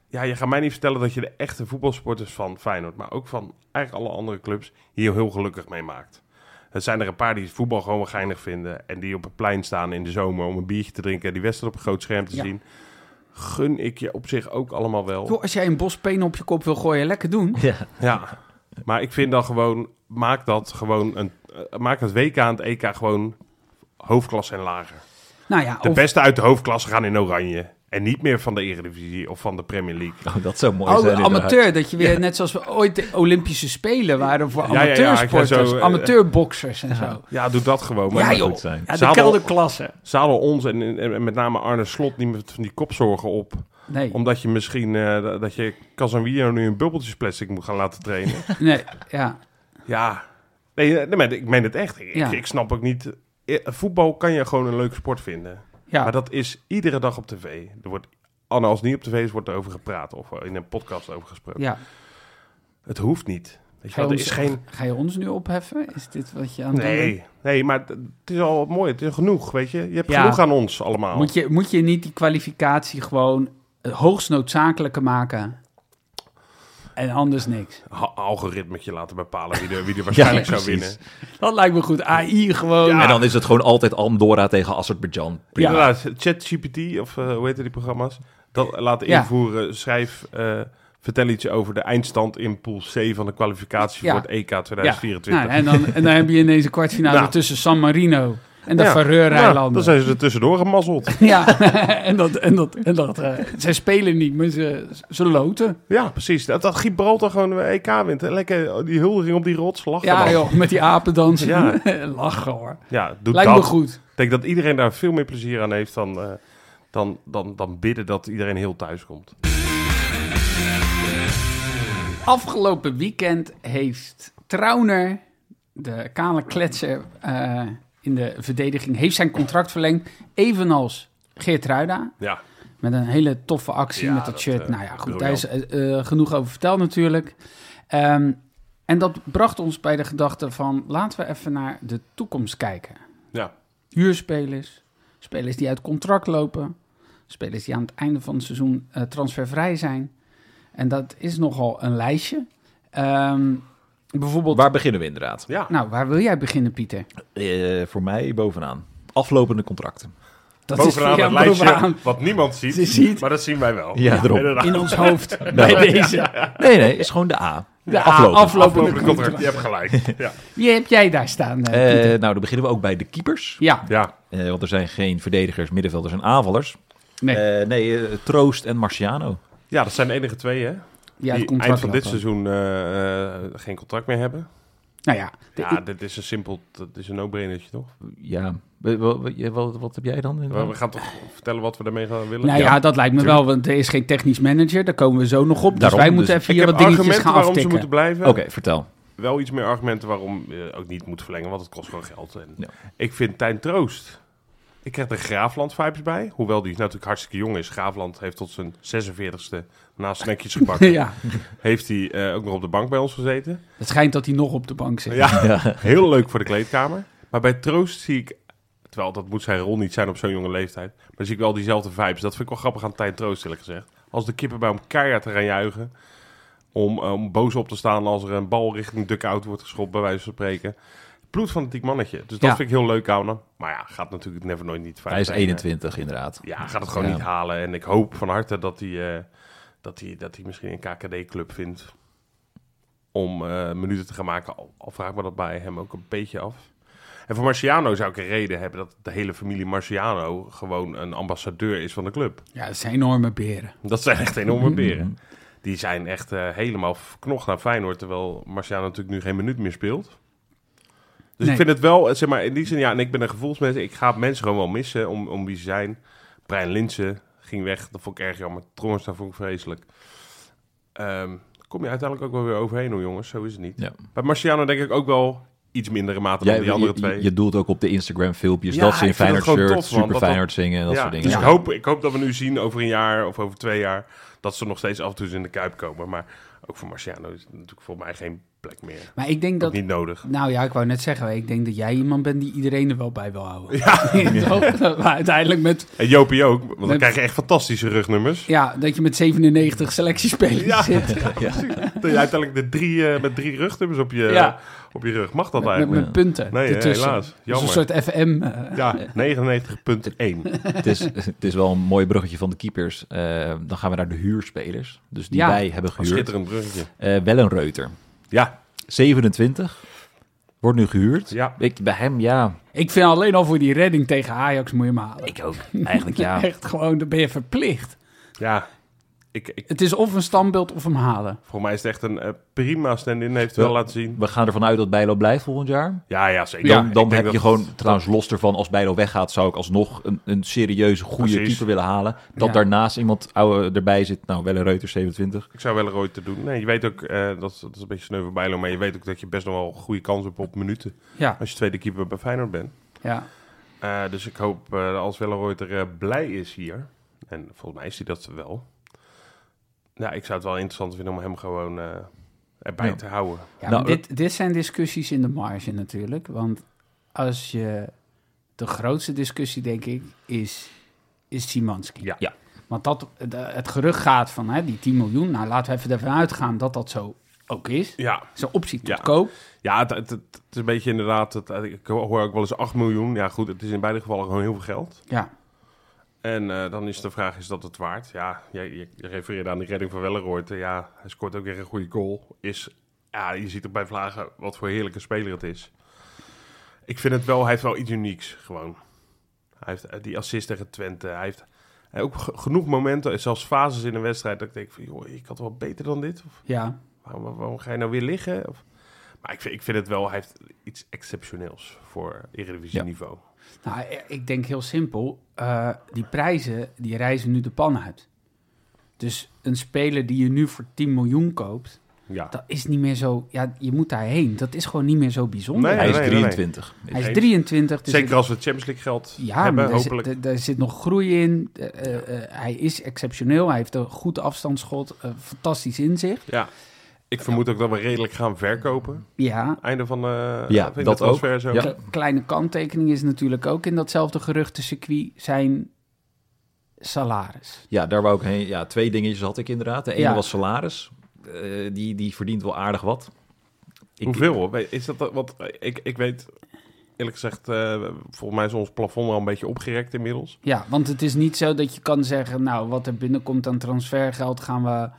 A: Ja, je gaat mij niet vertellen dat je de echte voetbalsporters van Feyenoord, maar ook van eigenlijk alle andere clubs, hier heel gelukkig mee maakt. Er zijn er een paar die het voetbal gewoon wel geinig vinden en die op het plein staan in de zomer om een biertje te drinken en die wedstrijd op een groot scherm te
B: Ja.
A: zien. Gun ik je op zich ook allemaal wel.
B: Joh, als jij een bospeen op je kop wil gooien, lekker doen.
D: Ja.
A: Ja, maar ik vind dan gewoon, maak dat gewoon een, eh, maak het WK en het EK gewoon hoofdklasse en lager.
B: Nou ja,
A: De
B: of-
A: beste uit de hoofdklasse gaan in oranje en niet meer van de Eredivisie of van de Premier League.
D: Oh, dat zou mooi
B: Oude
D: zijn. inderdaad.
B: amateur, dat je weer net zoals we ooit de Olympische Spelen waren voor
A: Ja, ja, ja, ik ga
B: amateursporters,
A: zo, eh,
B: amateurboxers en zo.
A: Ja, doe dat gewoon. Maar
B: Ja,
A: ja,
B: joh.
D: goed zijn.
B: Ja, de
A: Zadel-
B: kelderklasse.
A: zadel ons en, en, en met name Arne Slot niet met van die kopzorgen op.
B: Nee,
A: Omdat je misschien, eh, dat je Casemiro nu in bubbeltjesplastic moet gaan laten trainen.
B: nee, ja.
A: Ja, nee, eh, nee, maar ik meen het echt. Ik,
B: Ja.
A: ik snap ook niet. eh, Voetbal kan je gewoon een leuke sport vinden.
B: Ja.
A: Maar dat is iedere dag op tv. Er wordt, Anne, als het niet op tv is, wordt er over gepraat of in een podcast over gesproken.
B: ja.
A: Het hoeft niet. Weet je
B: Ga, je
A: wel, er
B: ons,
A: is geen.
B: ga je ons nu opheffen? Is dit wat je aan het doen bent?
A: Nee, nee, maar het het is al mooi. Het is genoeg, weet je. Je hebt
B: Ja.
A: genoeg aan ons allemaal.
B: Moet je, moet je niet die kwalificatie gewoon het hoogst noodzakelijke maken en anders niks?
A: Ha- Algoritmetje laten bepalen wie er, wie er waarschijnlijk zou
D: precies.
A: winnen.
B: Dat lijkt me goed. AI gewoon.
D: En dan is het gewoon altijd Andorra tegen Azerbeidzjan.
A: Ja.
D: Prima.
A: Inderdaad, ChatGPT of eh, hoe heet die programma's? Dat laten
B: Ja.
A: invoeren. Schrijf, eh, vertel iets over de eindstand in pool C van de kwalificatie
B: Ja.
A: voor het E EK
B: Ja.
A: 2024.
B: Nou, en, dan, en dan heb je ineens een kwartfinale
A: Nou.
B: tussen San Marino en de
A: Ja. Nou, dan
B: Faroe-eilanden.
A: zijn ze er tussendoor gemazzeld.
B: Ja, en dat, en dat, en dat eh, zij spelen niet, maar ze, ze loten.
A: ja, precies. Dat, dat Gibraltar gewoon de EK wint. En Lekker oh, die huldiging op die rots. Lachen
B: Ja,
A: dan.
B: joh, met die apen dansen.
A: Ja.
B: Lachen hoor.
A: Ja, doe
B: Lijkt me
A: dat.
B: goed.
A: Ik denk dat iedereen daar veel meer plezier aan heeft dan, eh, dan, dan, dan bidden dat iedereen heel thuis komt.
B: Afgelopen weekend heeft Trauner, de kale kletser eh, in de verdediging, heeft zijn contract verlengd. Evenals Geert Ruida.
A: Ja,
B: Met een hele toffe actie
A: Ja,
B: met dat,
A: dat,
B: shirt.
A: eh,
B: nou ja, goed, daar is
A: briljant.
B: eh, eh, genoeg over verteld natuurlijk. Ehm, en dat bracht ons bij de gedachte van laten we even naar de toekomst kijken.
A: ja.
B: Huurspelers, spelers die uit contract lopen, spelers die aan het einde van het seizoen eh, transfervrij zijn. En dat is nogal een lijstje. Ehm, bijvoorbeeld,
D: Waar beginnen we inderdaad?
A: ja.
B: nou, waar wil jij beginnen, Pieter?
D: Eh, voor mij bovenaan. Aflopende contracten.
B: Dat
A: bovenaan
B: voor
A: het
B: jou
A: lijstje
B: bovenaan
A: wat niemand ziet,
B: Ze ziet-
A: Maar dat zien wij wel.
D: Ja, erop.
A: inderdaad.
B: in ons hoofd bij deze.
D: Nee, nee, is gewoon de A.
B: De a-
D: aflopende.
B: aflopende
A: Aflopende contract.
B: contract.
A: Je hebt gelijk. Ja.
B: Wie heb jij daar staan? eh,
D: Eh,
B: Pieter?
D: nou, dan beginnen we ook bij de keepers.
B: ja,
A: ja.
D: Eh, want er zijn geen verdedigers, middenvelders en aanvallers.
B: nee.
D: Eh, nee, eh, Troost en Marciano.
A: Ja, dat zijn de enige twee, hè?
B: Ja, het
A: die
B: contract
A: eind van dit
B: lopen.
A: seizoen eh, eh, geen contract meer hebben.
B: Nou ja, de-
A: Ja, dit is een simpel, dat is een no-brainertje, toch?
D: Ja, we- we- we- je- wat, wat heb jij dan? in-
A: We- We gaan toch vertellen wat we daarmee gaan willen?
B: nou ja, dat lijkt me wel, want er is geen technisch manager. Daar komen we zo nog op. Dus
D: Daarom,
B: wij moeten
D: dus
B: even
A: Ik
B: hier
A: heb
B: wat dingetjes
A: argumenten
B: gaan
A: waarom ze
B: aftikken.
A: moeten blijven.
D: Oké, vertel.
A: Wel iets meer argumenten waarom je ook niet moet verlengen, want het kost gewoon geld. En
D: Ja.
A: Ik vind Tijn Troost. Ik krijg er Graafland-vibes bij. Hoewel die natuurlijk hartstikke jong is. Graafland heeft tot zijn 46e na snackjes gepakt.
B: ja,
A: Heeft hij eh, ook nog op de bank bij ons gezeten.
B: het schijnt dat hij nog op de bank zit.
A: Ja, heel leuk voor de kleedkamer. Maar bij Troost zie ik, terwijl dat moet zijn rol niet zijn op zo'n jonge leeftijd, maar zie ik wel diezelfde vibes. Dat vind ik wel grappig aan Tijn Troost, eerlijk gezegd. Als de kippen bij hem keihard te gaan juichen, om, eh, om boos op te staan als er een bal richting duck-out wordt geschopt, bij wijze van spreken. Bloedfanatiek mannetje. Dus dat
B: Ja.
A: vind ik heel leuk aan hem. Maar ja, gaat natuurlijk never nooit niet fijn
D: Hij is
A: zijn.
D: 21 inderdaad.
A: Ja, gaat het gewoon
D: Ja.
A: niet halen. En ik hoop van harte dat hij, eh, dat hij, dat hij misschien een KKD-club vindt om eh, minuten te gaan maken. Al, al vraag ik me dat bij hem ook een beetje af. En voor Marciano zou ik een reden hebben dat de hele familie Marciano gewoon een ambassadeur is van de club.
B: Ja, dat zijn enorme beren.
A: Dat zijn echt
D: Mhm.
A: enorme beren. Die zijn echt eh, helemaal verknocht naar Feyenoord, terwijl Marciano natuurlijk nu geen minuut meer speelt. Dus
B: Nee.
A: ik vind het wel, eh, zeg maar, in die zin, ja, en ik ben een gevoelsmens. Ik ga mensen gewoon wel missen om, om wie ze zijn. Brian Linsen ging weg, dat vond ik erg jammer. Trouwens, dat vond ik vreselijk. Ehm, kom je uiteindelijk ook wel weer overheen, hoor, jongens. Zo is het niet.
D: Ja.
A: Bij Marciano denk ik ook wel iets mindere mate dan
D: Jij,
A: die andere
D: je,
A: twee.
D: je- je doelt ook op de Instagram filmpjes
A: Ja,
D: dat ze in
A: ik vind dat
D: Feyenoord
A: gewoon
D: shirt,
A: tof, man,
D: super
A: dat dat-
D: Feyenoord zingen en dat
A: Ja,
D: soort dingen.
A: Dus
B: Ja.
A: ik, hoop, ik hoop dat we nu zien over een jaar of over twee jaar dat ze nog steeds af en toe eens in de kuip komen. Maar Ook voor Marciano is het natuurlijk voor mij geen plek meer.
B: Maar ik denk
A: Dat
B: dat...
A: niet nodig.
B: Nou ja, ik wou net zeggen, ik denk dat jij iemand bent die iedereen er wel bij wil houden. Toch? Maar uiteindelijk met,
A: En Jopie ook, want dan
B: Nee,
A: krijg je echt fantastische rugnummers.
B: ja, dat je met 97 selectiespelers
A: Ja.
B: zit.
A: Dat je uiteindelijk de drie, eh, met drie rugnummers op je, eh,
B: Ja.
A: op je rug. Mag dat
B: Met,
A: eigenlijk?
B: met punten
A: Nee, hè,
B: ertussen.
A: helaas.
B: Dus een
A: Jammer.
B: soort FM. eh,
A: Ja, 99.1.
D: Het is, het is wel een mooi bruggetje van de keepers. Eh, dan gaan we naar de huurspelers. Dus die
B: Ja.
D: wij hebben gehuurd.
A: Schitterend bruggetje.
D: Eh, wel een Reuter.
A: Ja,
D: 27. Wordt nu gehuurd.
A: ja.
D: Ik, bij hem, ja.
B: Ik vind alleen al voor die redding tegen Ajax moet je hem halen.
D: Ik ook. Eigenlijk ja.
B: Echt gewoon, dan ben je verplicht.
A: ja. Ik, ik,
B: Het is of een standbeeld of hem halen.
A: volgens mij is het echt een eh, prima stand-in. Heeft het wel laten zien.
D: We gaan ervan uit dat Bijlo blijft volgend jaar.
A: Ja, ja, zeker.
D: Dan,
A: Ik
D: dan
A: denk
D: heb
A: dat
D: je
A: het-
D: gewoon, trouwens los ervan, als Bijlo weggaat, zou ik alsnog een, een serieuze, goede
A: Precies.
D: keeper willen halen. Dat
B: Ja.
D: daarnaast iemand oude erbij zit. Nou, wel een Reuter 27.
A: Ik zou wel rood te doen. Nee, je weet ook, eh, dat, is- dat is een beetje sneu voor Bijlo, maar je weet ook dat je best nog wel goede kans hebt op minuten.
B: Ja,
A: Als je tweede keeper bij Feyenoord bent.
B: ja.
A: Eh, dus ik hoop eh, als Welleroyd er eh, blij is hier. En volgens mij is hij dat wel. Nou, ik zou het wel interessant vinden om hem gewoon eh, erbij
D: Ja.
A: te houden.
B: ja
D: Nou,
B: maar dit, dit zijn discussies in de marge natuurlijk. Want als je... De grootste discussie, denk ik, is, is Simanski.
A: Ja.
D: Ja.
B: Want dat, de- het gerucht gaat van hè, die 10 miljoen. Nou, laten we even ervan uitgaan dat dat zo ook is.
A: Ja,
B: Zo'n optie tot
A: Ja.
B: koop.
A: ja het, het, het- het is een beetje inderdaad, het, ik hoor ook wel eens 8 miljoen. Ja goed, het is in beide gevallen gewoon heel veel geld.
B: Ja,
A: En eh, dan is de vraag, is dat het waard? Ja, je, je je refereerde aan die redding van Welleroyd. Ja, hij scoort ook weer een goede goal. Is, ja, je ziet ook bij Vlagen wat voor heerlijke speler het is. Ik vind het wel, hij heeft wel iets unieks gewoon. Hij heeft eh, die assist tegen Twente. Hij heeft hij heeft ook ge- genoeg momenten, zelfs fases in een wedstrijd... dat ik denk van, joh, ik had wel beter dan dit. Of
B: ja.
A: waarom, waarom ga je nou weer liggen? Of, maar ik vind, ik vind het wel, hij heeft iets exceptioneels voor Eredivisie niveau.
B: Nou, eh, ik denk heel simpel. eh, die prijzen, die reizen nu de pan uit. Dus een speler die je nu voor 10 miljoen koopt,
A: Ja.
B: dat is niet meer zo... Ja, je moet daarheen. Dat is gewoon niet meer zo bijzonder.
A: Nee,
D: Hij is
A: nee, nee.
D: 23.
B: Hij is
A: eens.
B: 23. dus
A: Zeker
B: het-
A: als we Champions League geld
B: ja,
A: hebben,
B: maar daar,
A: hopelijk.
B: Zit, daar- daar zit nog groei in. Eh, eh, eh, hij is exceptioneel. Hij heeft een goed afstandsschot. eh, fantastisch inzicht.
A: Ja. Ik vermoed ook dat we redelijk gaan verkopen.
B: Ja,
A: Einde van, eh
D: Ja,
A: van de
D: dat
A: transfer zo.
D: Ja.
B: Kle- kleine kanttekening is natuurlijk ook in datzelfde geruchtencircuit zijn salaris.
D: Ja, daar wou ik heen. Ja, twee dingetjes had ik inderdaad. De ene
B: Ja.
D: was salaris. Eh, die, die verdient wel aardig wat. Ik-
A: Hoeveel? hoor? Weet- Is dat eh, wat? Ik, ik weet eerlijk gezegd, eh, volgens mij is ons plafond al een beetje opgerekt inmiddels.
B: Ja, want het is niet zo dat je kan zeggen, nou, wat er binnenkomt aan transfergeld gaan we...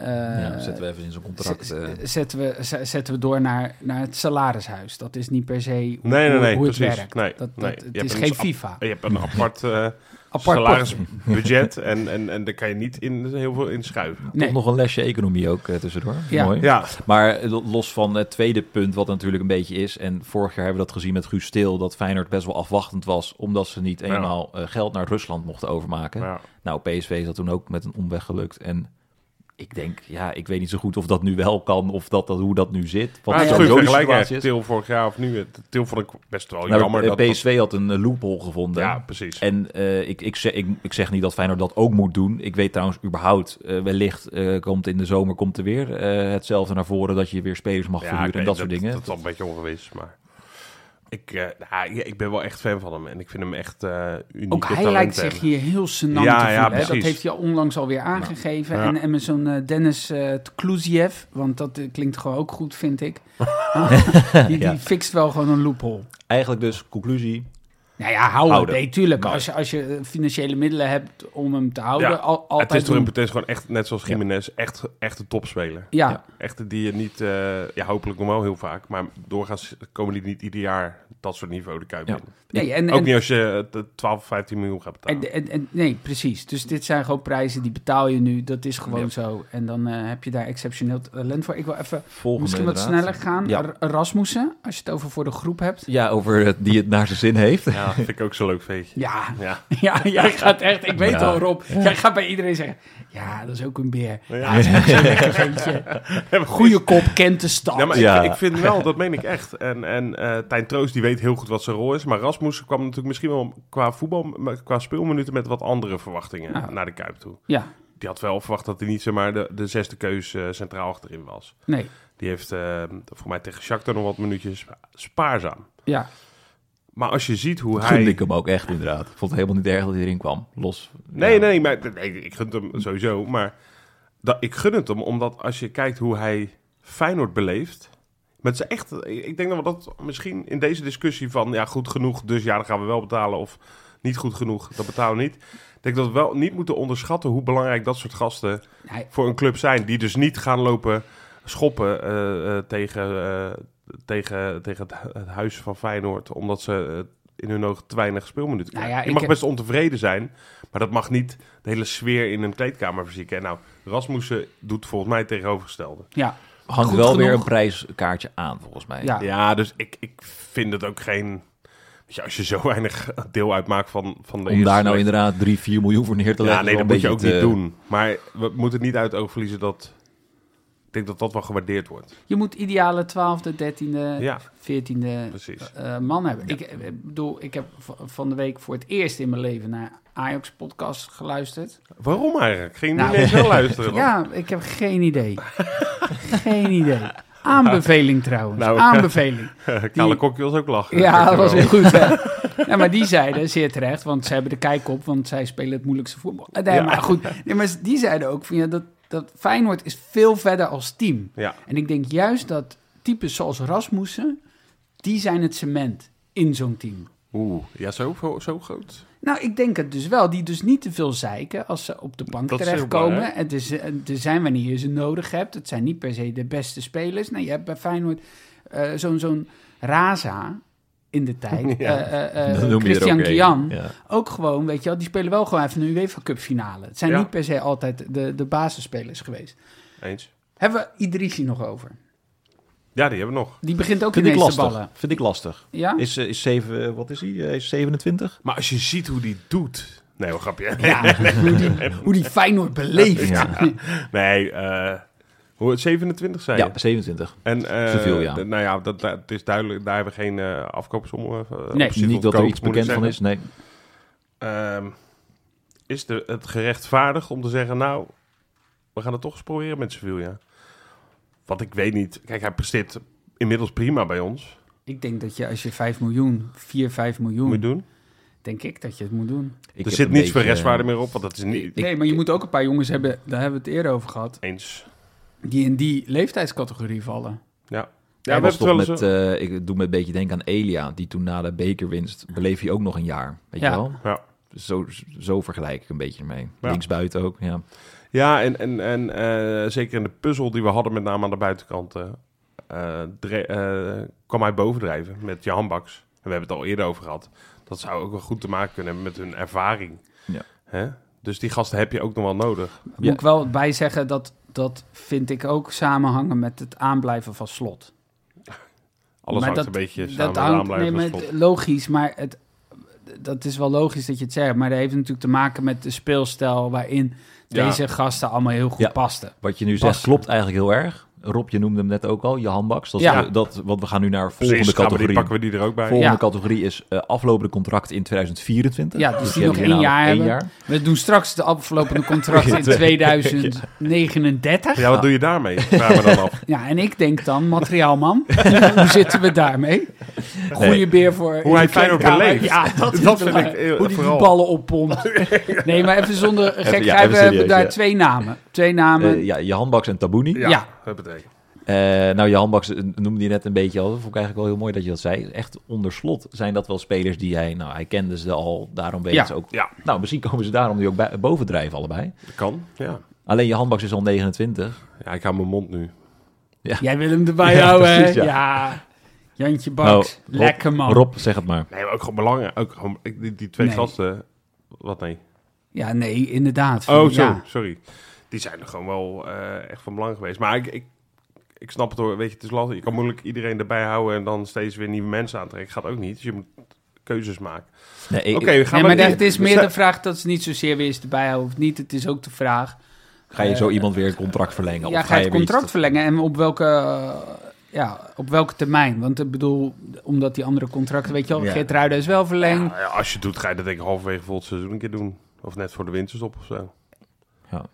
B: eh,
D: ja, zetten we even in zo'n contract.
B: z-
D: eh.
B: z- zetten, we, z- zetten we door naar, naar het salarishuis. Dat is niet per se hoe,
A: Nee, nee,
B: hoe-
A: nee,
B: hoe het
A: precies.
B: werkt.
A: Nee,
B: dat, dat,
A: nee. Je
B: Het
A: hebt
B: is
A: een dus
B: geen
A: ap-
B: FIFA.
A: Je hebt een apart, eh
B: Apart potje.
A: salarisbudget en, en, en daar kan je niet in, heel veel in schuiven.
B: Nee.
D: Toch nog een lesje economie ook eh, tussendoor.
B: Ja.
D: Mooi.
A: Ja,
D: Maar eh, los van het tweede punt, wat natuurlijk een beetje is. En vorig jaar hebben we dat gezien met Guus Stil. Dat Feyenoord best wel afwachtend was. Omdat ze niet
A: Ja.
D: eenmaal eh, geld naar Rusland mochten overmaken.
A: ja.
D: Nou, PSV is dat toen ook met een omweg gelukt. En ik denk, ja, ik weet niet zo goed of dat nu wel kan. Of dat, dat, hoe dat nu zit.
A: Maar
D: Wat
A: het is
D: sowieso
A: een goede
D: de
A: vergelijking.
D: situatie is.
A: Til vorig jaar of nu. Het- Til vond ik best wel
D: Nou,
A: jammer.
D: eh,
A: dat dat-
D: PSV had een eh, loophole gevonden.
A: ja, precies.
D: En eh, ik, ik, zeg, ik, ik zeg niet dat Feyenoord dat ook moet doen. Ik weet trouwens überhaupt, eh, wellicht eh, komt in de zomer komt er weer eh, hetzelfde naar voren dat je weer spelers mag
A: Ja,
D: verhuren
A: ik
D: en
A: weet,
D: dat, soort dingen.
A: Dat is al een beetje ongewis, maar... Ik, eh, nou, ja, ik ben wel echt fan van hem en ik vind hem echt eh uniek.
B: Ook hij lijkt zich hier heel senant
A: Ja,
B: te
A: ja,
B: voelen. hè. dat
A: precies.
B: heeft hij onlangs alweer aangegeven.
A: Ja.
B: En, en met zo'n eh, Dennis eh Tklouziev, want dat eh, klinkt gewoon ook goed, vind ik. die, die
D: Ja.
B: fixt wel gewoon een loophole.
D: Eigenlijk dus, conclusie,
B: Nou ja, houden.
D: Houden.
B: Nee, tuurlijk.
D: Maar-
B: Als je, als je eh, financiële middelen hebt om hem te houden,
A: Ja,
B: al, altijd
A: Het is, toch
B: doen.
A: een, het is gewoon echt, net zoals Jiménez, echt, echt een topspeler.
B: Ja,
D: Ja.
A: Echt die je niet, eh, ja hopelijk nog wel heel vaak, maar doorgaans komen die niet ieder jaar dat soort niveau de Kuip
D: Ja.
A: in.
B: Nee, en,
A: Ook
B: en,
A: niet als je eh, de 12, 15 miljoen gaat betalen.
B: en, en- en- nee, precies. Dus dit zijn gewoon prijzen die betaal je nu. Dat is gewoon
D: Ja.
B: zo. En dan eh, heb je daar exceptioneel talent voor. Ik wil even
D: volgende
B: misschien wat
D: inderdaad.
B: sneller gaan.
D: Ja.
B: Er- Erasmussen, als je het over voor de groep hebt.
D: Ja, over het, die het naar zijn zin heeft.
A: Ja, vind ik ook zo'n leuk feestje.
B: Ja,
A: Ja.
B: Ja, jij gaat echt, ik weet
D: Ja.
B: al Rob, jij gaat bij iedereen zeggen, ja, dat is ook een beer.
A: Ja.
B: Ja, dat is ook zo'n lekker ventje. Goeie kop, kent de stad.
A: Ja, maar
D: Ja.
A: Ik, ik vind wel, dat meen ik echt. En, en eh Tijn Troost, die weet heel goed wat zijn rol is. Maar Rasmus kwam natuurlijk misschien wel qua voetbal, maar qua speelminuten met wat andere verwachtingen
B: Ja.
A: naar de Kuip toe.
B: Ja,
A: die had wel verwacht dat hij niet zomaar de, de zesde keus eh, centraal achterin was.
B: Nee,
A: Die heeft eh, voor mij tegen Shakhtar nog wat minuutjes spa- spaarzaam.
B: ja.
A: Maar als je ziet hoe
D: Dat gunde
A: hij...
D: ik hem ook echt, inderdaad. Ik vond het helemaal niet erg dat hij erin kwam. Los.
A: Nee,
D: ja.
A: nee, maar, nee, ik gun het hem sowieso. Maar dat, ik gun het hem, omdat als je kijkt hoe hij Feyenoord beleeft... Met zijn echt, ik denk dat we dat misschien in deze discussie van... ja, goed genoeg, dus ja, dan gaan we wel betalen. Of niet goed genoeg, dat betalen we niet. Ik denk dat we wel niet moeten onderschatten hoe belangrijk dat soort gasten...
B: Nee.
A: voor een club zijn. Die dus niet gaan lopen schoppen eh, eh, tegen, eh, tegen, tegen het, hu- het huis van Feyenoord... omdat ze eh, in hun ogen te weinig speelminuten
B: Nou
A: krijgen.
B: ja,
A: je
B: ik
A: mag
B: heb-
A: best ontevreden zijn... Maar dat mag niet de hele sfeer in een kleedkamer verzieken. En nou, Rasmussen doet volgens mij het tegenovergestelde.
B: ja.
D: Hangt
B: Goed
D: wel weer
B: genoeg.
D: een prijskaartje aan, volgens mij.
B: Ja.
A: Ja, dus ik, ik vind het ook geen... Weet je, als je zo weinig deel uitmaakt van, van de
D: Om daar nou
A: in
D: inderdaad 3, 4 miljoen voor neer te leggen.
A: Ja, nee, dat
D: is wel
A: moet je
D: een
A: ook
D: beetje
A: niet
D: te-
A: doen. Maar we moeten niet uit het oog verliezen dat... Ik denk dat dat wel gewaardeerd wordt.
B: Je moet ideale twaalfde, dertiende,
A: Ja,
B: veertiende
A: precies.
B: eh, man hebben. Ik eh, bedoel, ik heb v- van de week voor het eerst in mijn leven naar Ajax-podcast geluisterd.
A: Waarom eigenlijk? Ging je
B: Nou,
A: niet eens wel luisteren? dan?
B: Ja, ik heb geen idee. geen idee. Aanbeveling trouwens,
A: Nou,
B: aanbeveling.
A: Kale
B: die-
A: Kokkie was ook lachen.
B: Ja, dat was
A: Wel.
B: heel goed. Hè? ja, maar die zeiden, zeer terecht, want ze hebben de kijk op, want zij spelen het moeilijkste voetbal. Eh, Nee,
A: Ja.
B: maar goed. Nee, maar die zeiden ook van ja, dat, dat Feyenoord is veel verder als team.
A: Ja.
B: En ik denk juist dat types zoals Rasmussen, die zijn het cement in zo'n team.
A: Oeh, ja, zo, zo groot?
B: Nou, ik denk het dus wel. Die dus niet te veel zeiken als ze op de bank
A: Dat is heel
B: terechtkomen.
A: belangrijk.
B: Het is, eh, er zijn wanneer je ze nodig hebt. Het zijn niet per se de beste spelers. Nou, je hebt bij Feyenoord eh, zo'n zo'n Raza in de tijd.
A: Ja.
B: Eh, eh, eh,
D: Dat noem je er
B: Christian
D: ook één.
B: Kian.
D: Ja.
B: Ook gewoon, weet je wel, die spelen wel gewoon even een UEFA Cup finale. Het zijn
A: Ja.
B: niet per se altijd de, de basisspelers geweest.
A: Eens.
B: Hebben we Idrissi nog over?
A: Ja, die hebben we nog.
B: Die begint ook
D: Vind ik
B: ineens te
D: lastig.
B: ballen.
D: Vind ik lastig.
B: Ja?
D: Is, eh, is 7, eh, wat is hij? Eh, Is 27?
A: Maar als je ziet hoe die doet... Nee, wat grapje.
B: Ja, hoe, die, hoe die Feyenoord beleeft.
D: Ja.
A: Nee, eh, hoe het 27 zijn.
D: Ja, 27.
A: En, eh,
D: Zoveel, ja.
A: d- Nou ja, dat, dat het is duidelijk, daar hebben we geen eh afkoopsom. eh,
B: Nee,
A: optie
D: Niet
A: tot
D: dat er
A: koop,
D: iets
A: moet ik
D: bekend van
A: zeggen.
D: is. Nee.
A: Ehm, is de, het gerechtvaardigd om te zeggen, nou, we gaan het toch eens proberen met Sevilla? Want ik weet niet. Kijk, hij presteert inmiddels prima bij ons.
B: Ik denk dat je als je 5 miljoen, 4, 5
A: Moet je
B: miljoen,
A: doen.
B: denk ik dat je het moet doen.
D: Ik
A: er
D: Hmm. heb
A: zit
D: een
A: niets voor
D: beetje,
A: restwaarde
D: eh,
A: meer op, want dat is niet
B: nee, maar je moet ook een paar jongens hebben, daar hebben we het eerder over gehad,
A: eens.
B: die in die leeftijdscategorie vallen.
A: Ja,
D: Hij
A: we
D: was
A: hebben het
D: toch
A: wel eens...
D: met, eh, ik doe me een beetje denken aan Elia, die toen na de bekerwinst beleef je ook nog een jaar, weet
B: Ja.
D: je wel?
A: Ja.
D: Zo, zo vergelijk ik een beetje ermee.
A: Ja.
D: Linksbuiten ook, ja.
A: Ja, en, en, en eh, zeker in de puzzel die we hadden, met name aan de buitenkant, eh, eh, dre- eh, kwam hij bovendrijven met Jan Baks. En we hebben het al eerder over gehad. Dat zou ook wel goed te maken kunnen hebben met hun ervaring.
D: Ja.
A: Hè? Dus die gasten heb je ook nog wel nodig.
B: Moet ik wel bij zeggen, dat, dat vind ik ook samenhangen met het aanblijven van slot.
A: Alles
B: Maar
A: hangt
B: dat-
A: een beetje samen
B: dat
A: met
B: hangt-
A: aanblijven
B: nee,
A: van
B: maar
A: slot.
B: het- Logisch, maar het, dat is wel logisch dat je het zegt. Maar dat heeft natuurlijk te maken met de speelstijl waarin
A: Ja.
B: deze gasten allemaal heel goed
D: Ja.
B: pasten.
D: Wat je nu
B: Pas.
D: zegt klopt eigenlijk heel erg. Rob, je noemde hem net ook al, Johan Baks. Dat, is
B: Ja.
D: de- dat, want we gaan nu naar
A: Precies,
D: volgende
A: gaan we die,
D: categorie.
A: pakken we die er ook bij.
D: Volgende
B: Ja.
D: categorie is eh, aflopende contracten in 2024.
B: Ja, dus die
D: je
B: nog
D: hebt
B: één
D: inderdaad
B: jaar
D: nou één
B: hebben. We doen straks de aflopende contract in 2039.
A: Ja, wat doe je daarmee? Vraag me dan af.
B: Ja, en ik denk dan, materiaalman, hoe zitten we daarmee? Goeie beer voor... in de
A: hij Feyenoord
B: kleedkamer.
A: beleeft.
B: Ja, dat, is
A: Dat vind
B: belangrijk.
A: ik,
B: Hoe
A: eh,
B: die, die
A: vooral.
B: ballen oppompt. Nee, maar even zonder gekheid,
D: ja, even
B: we hebben
D: serieus,
B: daar
D: ja.
B: twee namen. Twee namen.
D: Eh, ja, Johan Baks en Tabouni.
A: Ja,
B: Ja.
A: dat betekent.
D: Eh, nou, Johan Baks eh, noemde je net een beetje al. Dat vond ik eigenlijk wel heel mooi dat je dat zei. Echt onder slot zijn dat wel spelers die hij... Nou, hij kende ze al, daarom weet
B: Ja,
D: ze ook...
A: ja.
D: Nou, misschien komen ze daarom nu ook bij- bovendrijven allebei.
A: Dat kan, ja.
D: Alleen Johan Baks is al 29.
A: Ja, ik hou mijn mond nu.
B: Jij wil hem erbij
D: Ja,
B: houden, hè?
D: precies,
B: Ja.
D: ja.
B: Jantje Baks,
D: Nou, Rob-
B: lekker man.
D: Rob, zeg het maar.
A: Nee, maar ook gewoon belangrijk. Ook gewoon, ik- die, die twee
B: Nee.
A: gasten... Wat nee?
B: Ja, nee, inderdaad.
A: Oh, zo,
B: Ja.
A: sorry. Die zijn er gewoon wel eh, echt van belang geweest. Maar ik, ik, ik snap het hoor. Weet je, het is lastig. Je kan moeilijk iedereen erbij houden en dan steeds weer nieuwe mensen aantrekken. Gaat ook niet. Dus je moet keuzes maken.
D: Nee, ik-
A: Oké, we gaan
B: Nee, maar
A: naar
B: dat- het is meer
A: we-
B: de vraag dat ze niet zozeer weer is erbij houden of niet. Het is ook de vraag
D: Ga je zo iemand weer het contract verlengen?
B: Ja,
D: of
B: ga je het
D: weer iets
B: contract
D: te-
B: verlengen en op welke, eh, ja, op welke termijn? Want ik bedoel, omdat die andere contracten, weet je wel,
D: Ja.
B: Geert Ruiden is wel verlengd.
A: Nou ja, als je het doet, ga je dat denk ik halverwege volgend seizoen een keer doen. Of net voor de winterstop of zo.
D: Ja.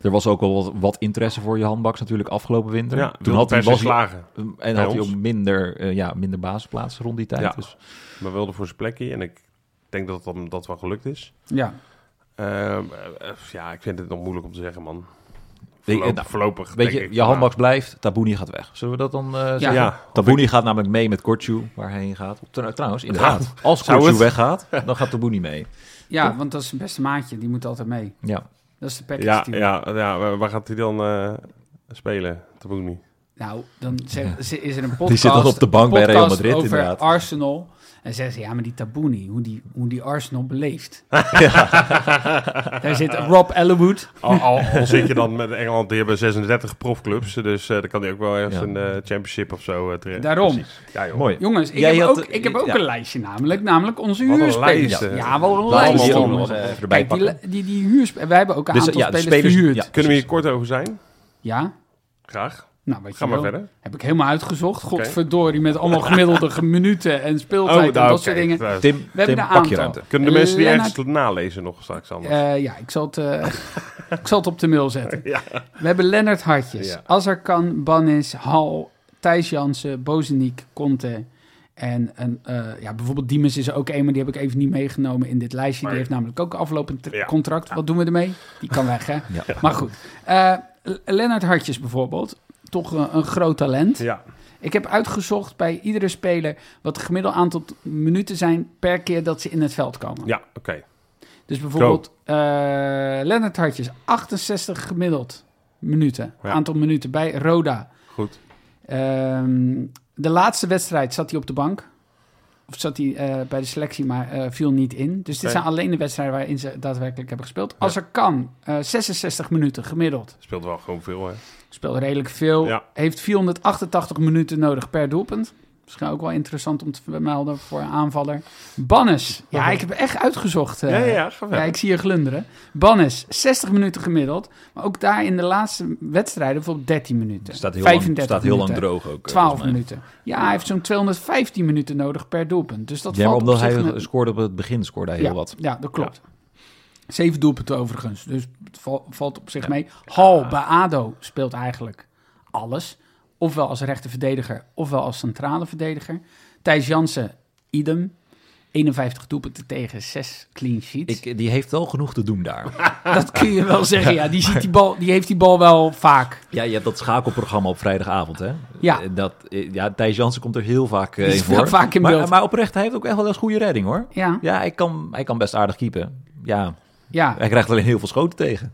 D: Er was ook wel wat, wat interesse voor Johan Baks natuurlijk afgelopen winter.
A: Ja, toen had hij
D: was-
A: slagen.
D: En
A: bij
D: had hij
A: ons.
D: ook minder, eh, ja, minder basisplaatsen rond die tijd.
A: Ja.
D: Dus
A: Maar wilde voor zijn plekje. En ik denk dat dat, hem- dat wel gelukt is.
B: Ja,
A: Ehm, eh, eh, ja, ik vind het nog moeilijk om te zeggen, man.
D: Weet-
A: Voorlopig,
D: nou,
A: voorlopig
D: Weet
A: denk
D: je,
A: ik
D: Johan
A: van,
D: Baks blijft, Tabouni gaat weg. Zullen we dat dan eh
A: nou,
D: zeggen?
A: Ja,
D: Tabouni gaat namelijk mee met Kortju, waar hij heen gaat. Tr- Trouwens, inderdaad. Als
A: Zou
D: Kortju
A: het?
D: weggaat, dan gaat Tabouni mee.
B: ja want dat is zijn beste maatje. Die moet altijd mee.
D: Ja.
B: Dat is de package
A: ja,
B: deal.
A: ja, ja, waar- waar gaat hij dan eh, spelen? Tabouni.
B: Nou, dan zeg- ze- is er een podcast,
D: zit dan op de bank bij Real
B: podcast
D: Madrid,
B: over
D: inderdaad.
B: Arsenal. En zeggen ze, ja, maar die Tabouni, hoe die, hoe die Arsenal beleeft. Daar zit Rob Ellenwood.
A: Al, al, al zit je dan met Engeland, die hebben 36 profclubs. Dus eh dan kan hij ook wel ergens
D: Ja.
A: een eh, championship of zo eh, terecht.
B: Daarom.
A: Ja, joh.
D: Mooi.
B: Jongens, ik
D: Jij
B: heb,
D: had-
B: ook, ik heb ook
D: ja.
B: een lijstje namelijk. Namelijk onze
A: Wat een
B: huurspelers.
A: lijst, eh.
B: Ja, wel een
D: Laten we
B: lijst.
D: die
B: jongens.
D: nog even erbij
B: Kijk, die,
D: pakken.
B: li- die, die huurs- wij hebben ook een
D: Dus,
B: aantal
D: ja, de
B: spelers,
D: spelers-
B: verhuurd.
D: ja.
B: Ja.
A: Kunnen we hier kort over zijn? Graag.
B: Nou, wat je
A: Ga maar
B: wil.
A: verder.
B: Heb ik helemaal uitgezocht. Godverdorie, met allemaal gemiddelde minuten en speeltijd en dat
A: nou, oké.
B: soort dingen.
A: Nou,
D: Tim, we
B: hebben
D: Tim
B: een
D: pak je
B: aantal.
D: ruimte.
A: Kunnen de mensen die
B: Lennart-
A: ergens nalezen nog straks anders?
B: Eh, ja, ik zal, het, eh, ik zal het op de mail zetten.
A: Ja.
B: We hebben Lennart Hartjes,
A: Ja.
B: Azarkan, Bannis, Hal, Thijs Jansen, Bozeniek, Conte. En, en eh, ja, bijvoorbeeld Diemens is er ook een, maar die heb ik even niet meegenomen in dit lijstje.
A: Maar-
B: Die heeft namelijk ook een aflopend tra-
A: Ja.
B: contract. Wat doen we ermee? Die kan weg, hè?
D: Ja.
B: Maar goed. Eh, L- Lennart Hartjes bijvoorbeeld. Toch een, een groot talent.
A: ja.
B: Ik heb uitgezocht bij iedere speler wat het gemiddelde aantal t- minuten zijn per keer dat ze in het veld komen.
A: Ja, oké.
B: Dus bijvoorbeeld eh Lennart Hartjes, 68 gemiddeld minuten.
A: Ja.
B: Aantal minuten bij Roda.
A: Goed.
B: Ehm, de laatste wedstrijd zat hij op de bank. Of zat hij eh, bij de selectie, maar eh, viel niet in. Dus dit
A: Nee.
B: zijn alleen de wedstrijden waarin ze daadwerkelijk hebben gespeeld.
A: Ja.
B: Als er kan, eh, 66 minuten gemiddeld.
A: Speelt wel gewoon veel,
B: Eh.
A: hè?
B: Speelde redelijk veel.
A: Ja.
B: Heeft 488 minuten nodig per doelpunt. Misschien ook wel interessant om te vermelden voor een aanvaller. Bannes. Ja, ik heb echt uitgezocht. eh,
A: ja, ja, ja, ga
B: ja,
A: verder.
B: ik zie je glunderen. Bannes, 60 minuten gemiddeld. Maar ook daar in de laatste wedstrijden bijvoorbeeld 13 minuten.
D: Staat heel, lang,
B: 35
D: staat heel lang
B: minuten,
D: droog ook. eh,
B: 12
D: volgens mij.
B: minuten. Ja, hij heeft zo'n 215 minuten nodig per doelpunt. Dus dat
D: Ja, maar
B: valt
D: omdat
B: op zich
D: hij
B: een-
D: scoorde op het begin, scoorde hij
B: ja,
D: heel wat.
B: Ja, dat klopt. Zeven doelpunten overigens. Dus het val- valt op zich mee. Hal bij ADO speelt eigenlijk alles. Ofwel als rechterverdediger, ofwel als centrale verdediger. Thijs Jansen, idem. 51 doelpunten tegen, 6 clean sheets.
D: Ik, die heeft wel genoeg te doen daar.
B: Dat kun je wel zeggen, ja. Die, ziet die, bal, die heeft die bal wel vaak.
D: ja, je hebt dat schakelprogramma op vrijdagavond, hè?
B: Ja.
D: Eh, Dat, eh, ja Thijs Jansen komt er heel vaak eh,
B: Die
D: in
B: is
D: voor.
B: wel vaak in
D: maar,
B: beeld.
D: maar oprecht, hij heeft ook echt wel eens goede redding, hoor.
B: Ja, ja.
D: Ja, hij kan, hij kan best aardig keepen. Ja, hij krijgt alleen heel veel schoten tegen.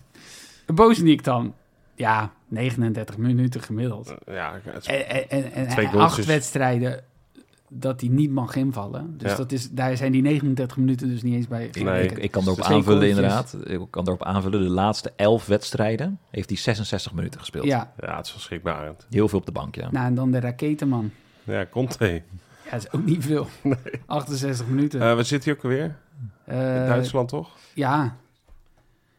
B: Bozeniek dan. Ja, 39 minuten gemiddeld.
A: Ja, het is-
B: En, en, en, en
A: Twee
B: acht
A: goaltjes.
B: wedstrijden dat hij niet mag invallen. Dus
A: Ja.
B: dat is, daar zijn die 39 minuten dus niet eens bij.
A: Nee.
D: Ik, ik kan erop
B: Twee
D: aanvullen,
B: goaltjes.
D: inderdaad. Ik kan erop aanvullen, de laatste elf wedstrijden heeft hij 66 minuten gespeeld.
B: Ja,
A: ja, het is verschrikbarend.
D: Heel veel op de bank, ja.
B: nou en dan de raketenman.
A: Ja, Conte.
B: Ja, dat is ook niet veel. 68 minuten.
A: Eh we zitten hier ook alweer. In
B: Eh,
A: Duitsland, toch?
B: ja,